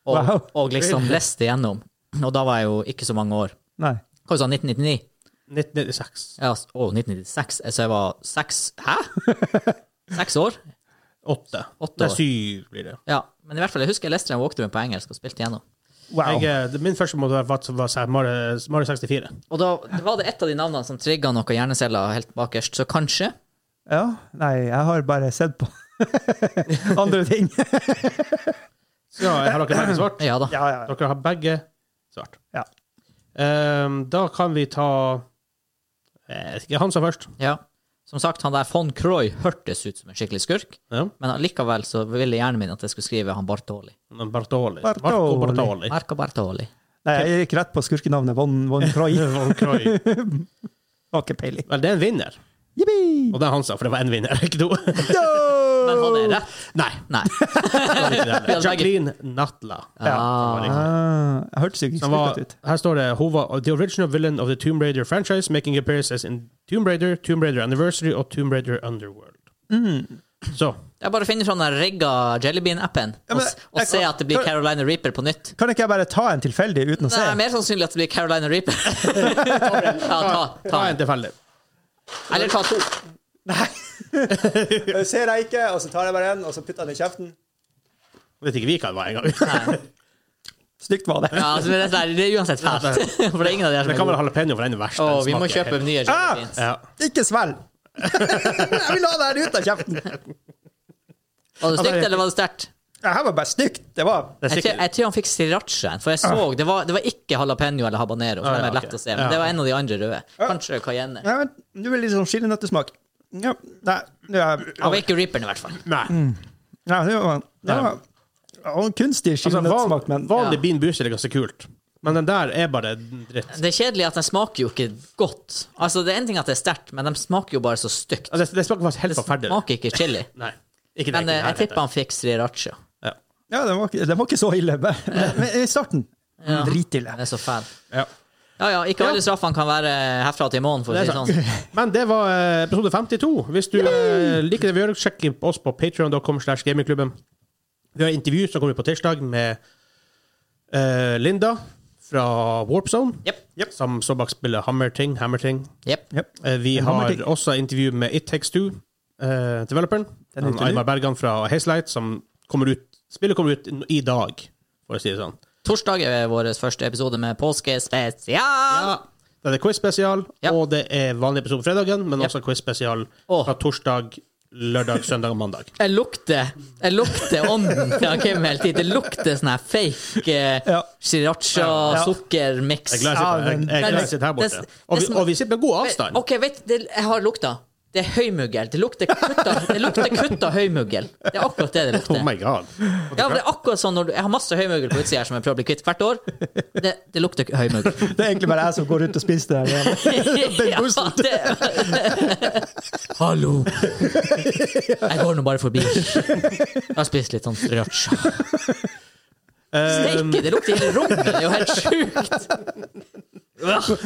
Speaker 3: og,
Speaker 2: Wow.
Speaker 3: og liksom leste gjennom. Og da var jeg jo ikke så mange år.
Speaker 2: Nei.
Speaker 3: Hva sa du, 1999?
Speaker 1: 1996.
Speaker 3: Ja, s- å, 1996. Så jeg var seks Hæ? Seks år?
Speaker 1: Åtte.
Speaker 3: Åtte
Speaker 1: Nei,
Speaker 3: år.
Speaker 1: syv blir det.
Speaker 3: Ja. Men i hvert fall, jeg husker jeg leste den walkthroughen på engelsk og spilte gjennom.
Speaker 2: Wow.
Speaker 1: Jeg, eh, min første måte var, var, var Mario, Mario 64.
Speaker 3: Og da det var det et av de navnene som trigga noe hjerneceller helt bakerst, så kanskje
Speaker 2: Ja. Nei, jeg har bare sett på andre ting.
Speaker 1: Så ja, har dere begge svart?
Speaker 3: Ja da.
Speaker 2: Ja, ja, ja.
Speaker 1: Dere har begge svart.
Speaker 2: Ja.
Speaker 1: Ehm, da kan vi ta eh, Jeg vet ikke, han som først.
Speaker 3: Ja. Som sagt, han der von Croy hørtes ut som en skikkelig skurk,
Speaker 1: Ja.
Speaker 3: men allikevel så ville hjernen min at jeg skulle skrive han Bartoli.
Speaker 1: Men Bartoli.
Speaker 2: Bartoli.
Speaker 1: Marco Bartoli.
Speaker 3: Marco Bartoli.
Speaker 2: Nei, jeg gikk rett på skurkenavnet Von, von Croy.
Speaker 1: Von Croy.
Speaker 2: Har ikke peiling.
Speaker 1: Vel, det er en vinner.
Speaker 2: Jippi!
Speaker 1: Og det er han sa, for det var én vinner, ikke to.
Speaker 3: Men han er rett.
Speaker 1: Nei.
Speaker 3: Nei.
Speaker 1: Jacqueline Natla.
Speaker 3: Ah.
Speaker 2: Ah, jeg hørtes jo ikke
Speaker 1: Som var,
Speaker 2: skurkete ut.
Speaker 1: her står det hun var the original villain of the Tomb Raider franchise, making appearances in Tomb Raider, Tomb Raider Anniversary og Tomb Raider Underworld. Så
Speaker 3: Det er bare å finne fram den rigga Jellybean-appen
Speaker 2: Ja,
Speaker 3: og,
Speaker 2: men
Speaker 3: s- og
Speaker 2: jeg-
Speaker 3: se at det blir Carolina Reaper på nytt.
Speaker 2: Kan ikke jeg bare ta en tilfeldig uten å
Speaker 3: Nei,
Speaker 2: se?
Speaker 3: mer sannsynlig at det blir Carolina Reaper. ja, ta, ta
Speaker 1: ta
Speaker 3: en.
Speaker 1: en tilfeldig.
Speaker 3: Eller ta to.
Speaker 2: ser jeg ikke, og så tar jeg bare en, og så putter jeg den i kjeften.
Speaker 1: Vet ikke vi hva det var engang.
Speaker 2: Stygt var det.
Speaker 3: Ja, altså, det, er, sånn her, det er uansett fælt. For det er ingen av de her
Speaker 1: Det
Speaker 3: som
Speaker 1: kan
Speaker 3: er
Speaker 1: være
Speaker 3: gode.
Speaker 1: jalapeño, for den er verst.
Speaker 3: Å,
Speaker 1: den
Speaker 3: vi må
Speaker 1: smaker
Speaker 3: kjøpe
Speaker 1: helt-
Speaker 3: nye
Speaker 2: Ah!
Speaker 3: jelly beans.
Speaker 1: Ja.
Speaker 2: Ikke svelg! jeg vil ha det her ut av kjeften!
Speaker 3: Var det stygt, eller var det sterkt?
Speaker 2: Det her var bare stygt. Det var
Speaker 1: Det er
Speaker 3: Jeg tror,
Speaker 1: sikkert
Speaker 3: jeg tror han fikk srirachaen, for jeg så det var, det var ikke jalapeño eller habanero. For
Speaker 1: Ah, ja,
Speaker 3: de er lett
Speaker 1: ok.
Speaker 3: å se, men
Speaker 1: Ja. Ah.
Speaker 3: det var en av de andre røde. Kanskje cayenne.
Speaker 2: Nei, men Nå er det litt sånn chilinøttesmak. Ja, nei, det er,
Speaker 3: Han var ikke reaperen, i hvert fall.
Speaker 1: Nei.
Speaker 2: nei, det var, det var, det var en kunstig
Speaker 1: Altså, van,
Speaker 2: chilinøttesmak, men
Speaker 1: vanlig
Speaker 3: Ja.
Speaker 1: bean booster er ganske kult, men den der er bare dritt.
Speaker 3: Det er kjedelig at den smaker jo ikke godt. Altså, det er en ting at det er sterkt, men de smaker jo bare så stygt.
Speaker 1: Altså, det- det smaker faktisk
Speaker 3: Det
Speaker 1: helt forferdelig.
Speaker 3: smaker ikke chili.
Speaker 1: Nei. Ikke det, ikke
Speaker 3: Men eh,
Speaker 1: det her,
Speaker 3: jeg tipper han fikk sriracha.
Speaker 1: Ja.
Speaker 2: ja, det, var, ikke- det var ikke så ille. Men, men i starten
Speaker 3: Ja.
Speaker 2: dritille.
Speaker 3: Det er så fæl.
Speaker 1: Ja.
Speaker 3: Ja ja, ikke alle straffene kan være herfra til i morgen, for å
Speaker 1: Det
Speaker 3: si
Speaker 1: er
Speaker 3: det
Speaker 1: sant.
Speaker 3: sånn.
Speaker 1: Men det var eh, episode 52. Hvis du eh, liker det vi gjør, sjekk oss på patreon.com slash gamingklubben. Vi har intervju som kommer på tirsdag med eh, Linda fra Warp Zone,
Speaker 3: Jepp.
Speaker 1: som så bak spiller Hammerting. Hammerting.
Speaker 3: Jepp.
Speaker 2: Jep.
Speaker 1: Eh, vi
Speaker 2: En
Speaker 1: har
Speaker 2: Hammerting.
Speaker 1: også intervju med It Takes Two, eh, developeren.
Speaker 2: Den er
Speaker 1: Han
Speaker 2: ute nå.
Speaker 1: Aymar Bergan fra Hazelight, som kommer ut Spillet kommer ut i dag, for å si det sånn.
Speaker 3: Torsdag er vår første episode med påskespesial.
Speaker 1: Ja. Det er quiz-spesial,
Speaker 3: Ja.
Speaker 1: og det er vanlig episode på fredagen, men
Speaker 3: Ja.
Speaker 1: også quiz-spesial
Speaker 3: Åh.
Speaker 1: fra torsdag, lørdag, søndag og mandag.
Speaker 3: Jeg lukter jeg lukter ånden til han Kim hele tiden. Det lukter sånn her fake eh,
Speaker 2: Ja. Ja.
Speaker 3: sriracha-sukkermiks.
Speaker 1: Jeg er glad jeg
Speaker 2: Ja,
Speaker 1: sitter, jeg, jeg,
Speaker 2: men-
Speaker 1: er glad jeg
Speaker 3: Men-
Speaker 1: sitter her borte.
Speaker 3: det- det
Speaker 1: Og vi,
Speaker 3: smak-
Speaker 1: og vi sitter med god avstand.
Speaker 3: OK, vet du, jeg har lukta. Det er høymugger. Det lukter kutta, det lukter kutta høymugger. Det er akkurat det det
Speaker 1: Oh
Speaker 3: lukter.
Speaker 1: my god.
Speaker 3: Ja, men det er akkurat sånn når du, Jeg har masse høymugger på utsida her som jeg prøver å bli kvitt hvert år. Det, det lukter høymugger.
Speaker 2: Det er egentlig bare jeg som går rundt og spiser det. her.
Speaker 3: Ja, det- Hallo! Jeg går nå bare forbi. Jeg har spist litt sånn sriracha. Steike, det lukter hele rommet! Det er jo helt sjukt!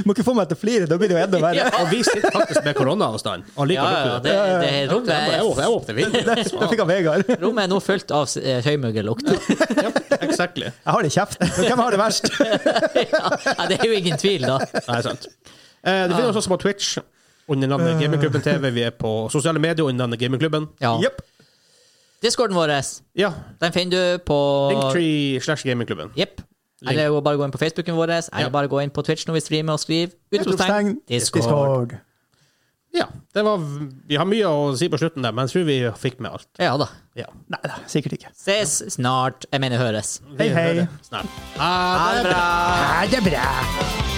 Speaker 2: Må ikke få meg til å flire, da blir det jo enda verre.
Speaker 3: Ja,
Speaker 1: Og vi sitter faktisk med koronaavstand. Og
Speaker 3: ja,
Speaker 1: likevel
Speaker 3: ja,
Speaker 1: lukter det.
Speaker 3: det, det
Speaker 1: Jeg bare- jeg
Speaker 3: rommet,
Speaker 1: åpner- Jeg åpner vinduet.
Speaker 2: Da fikk han Vegard.
Speaker 3: er, rommet er nå fylt av s- eh, høymuggerlukt.
Speaker 1: Ja, exactly.
Speaker 2: Jeg har det i kjeften. Men Hvem har det verst?
Speaker 3: Ja, det er jo ingen tvil, da.
Speaker 1: Nei, sant. Eh, Det finner oss også på Twitch under navnet Gamingklubben TV. Vi er på sosiale medier under navnet Gamingklubben.
Speaker 3: Ja.
Speaker 2: Jepp.
Speaker 3: Discorden vår,
Speaker 1: Ja.
Speaker 3: den finner du på
Speaker 1: Linktree slash Gamingklubben.
Speaker 3: Jepp. Eller jo bare gå inn på Facebooken vår,
Speaker 1: Ja.
Speaker 3: eller bare gå inn på Twitch når vi streamer og skriver. Utropstegn.
Speaker 2: Utropstegn. Discord.
Speaker 1: Ja. Det var, vi har mye å si på slutten der, men jeg tror vi fikk med alt.
Speaker 3: Ja da.
Speaker 1: Ja.
Speaker 2: Nei da, sikkert ikke.
Speaker 3: Ses snart. Jeg mener høres.
Speaker 2: Hei, hei.
Speaker 1: Snart.
Speaker 3: Ha det bra!
Speaker 2: Ha det bra.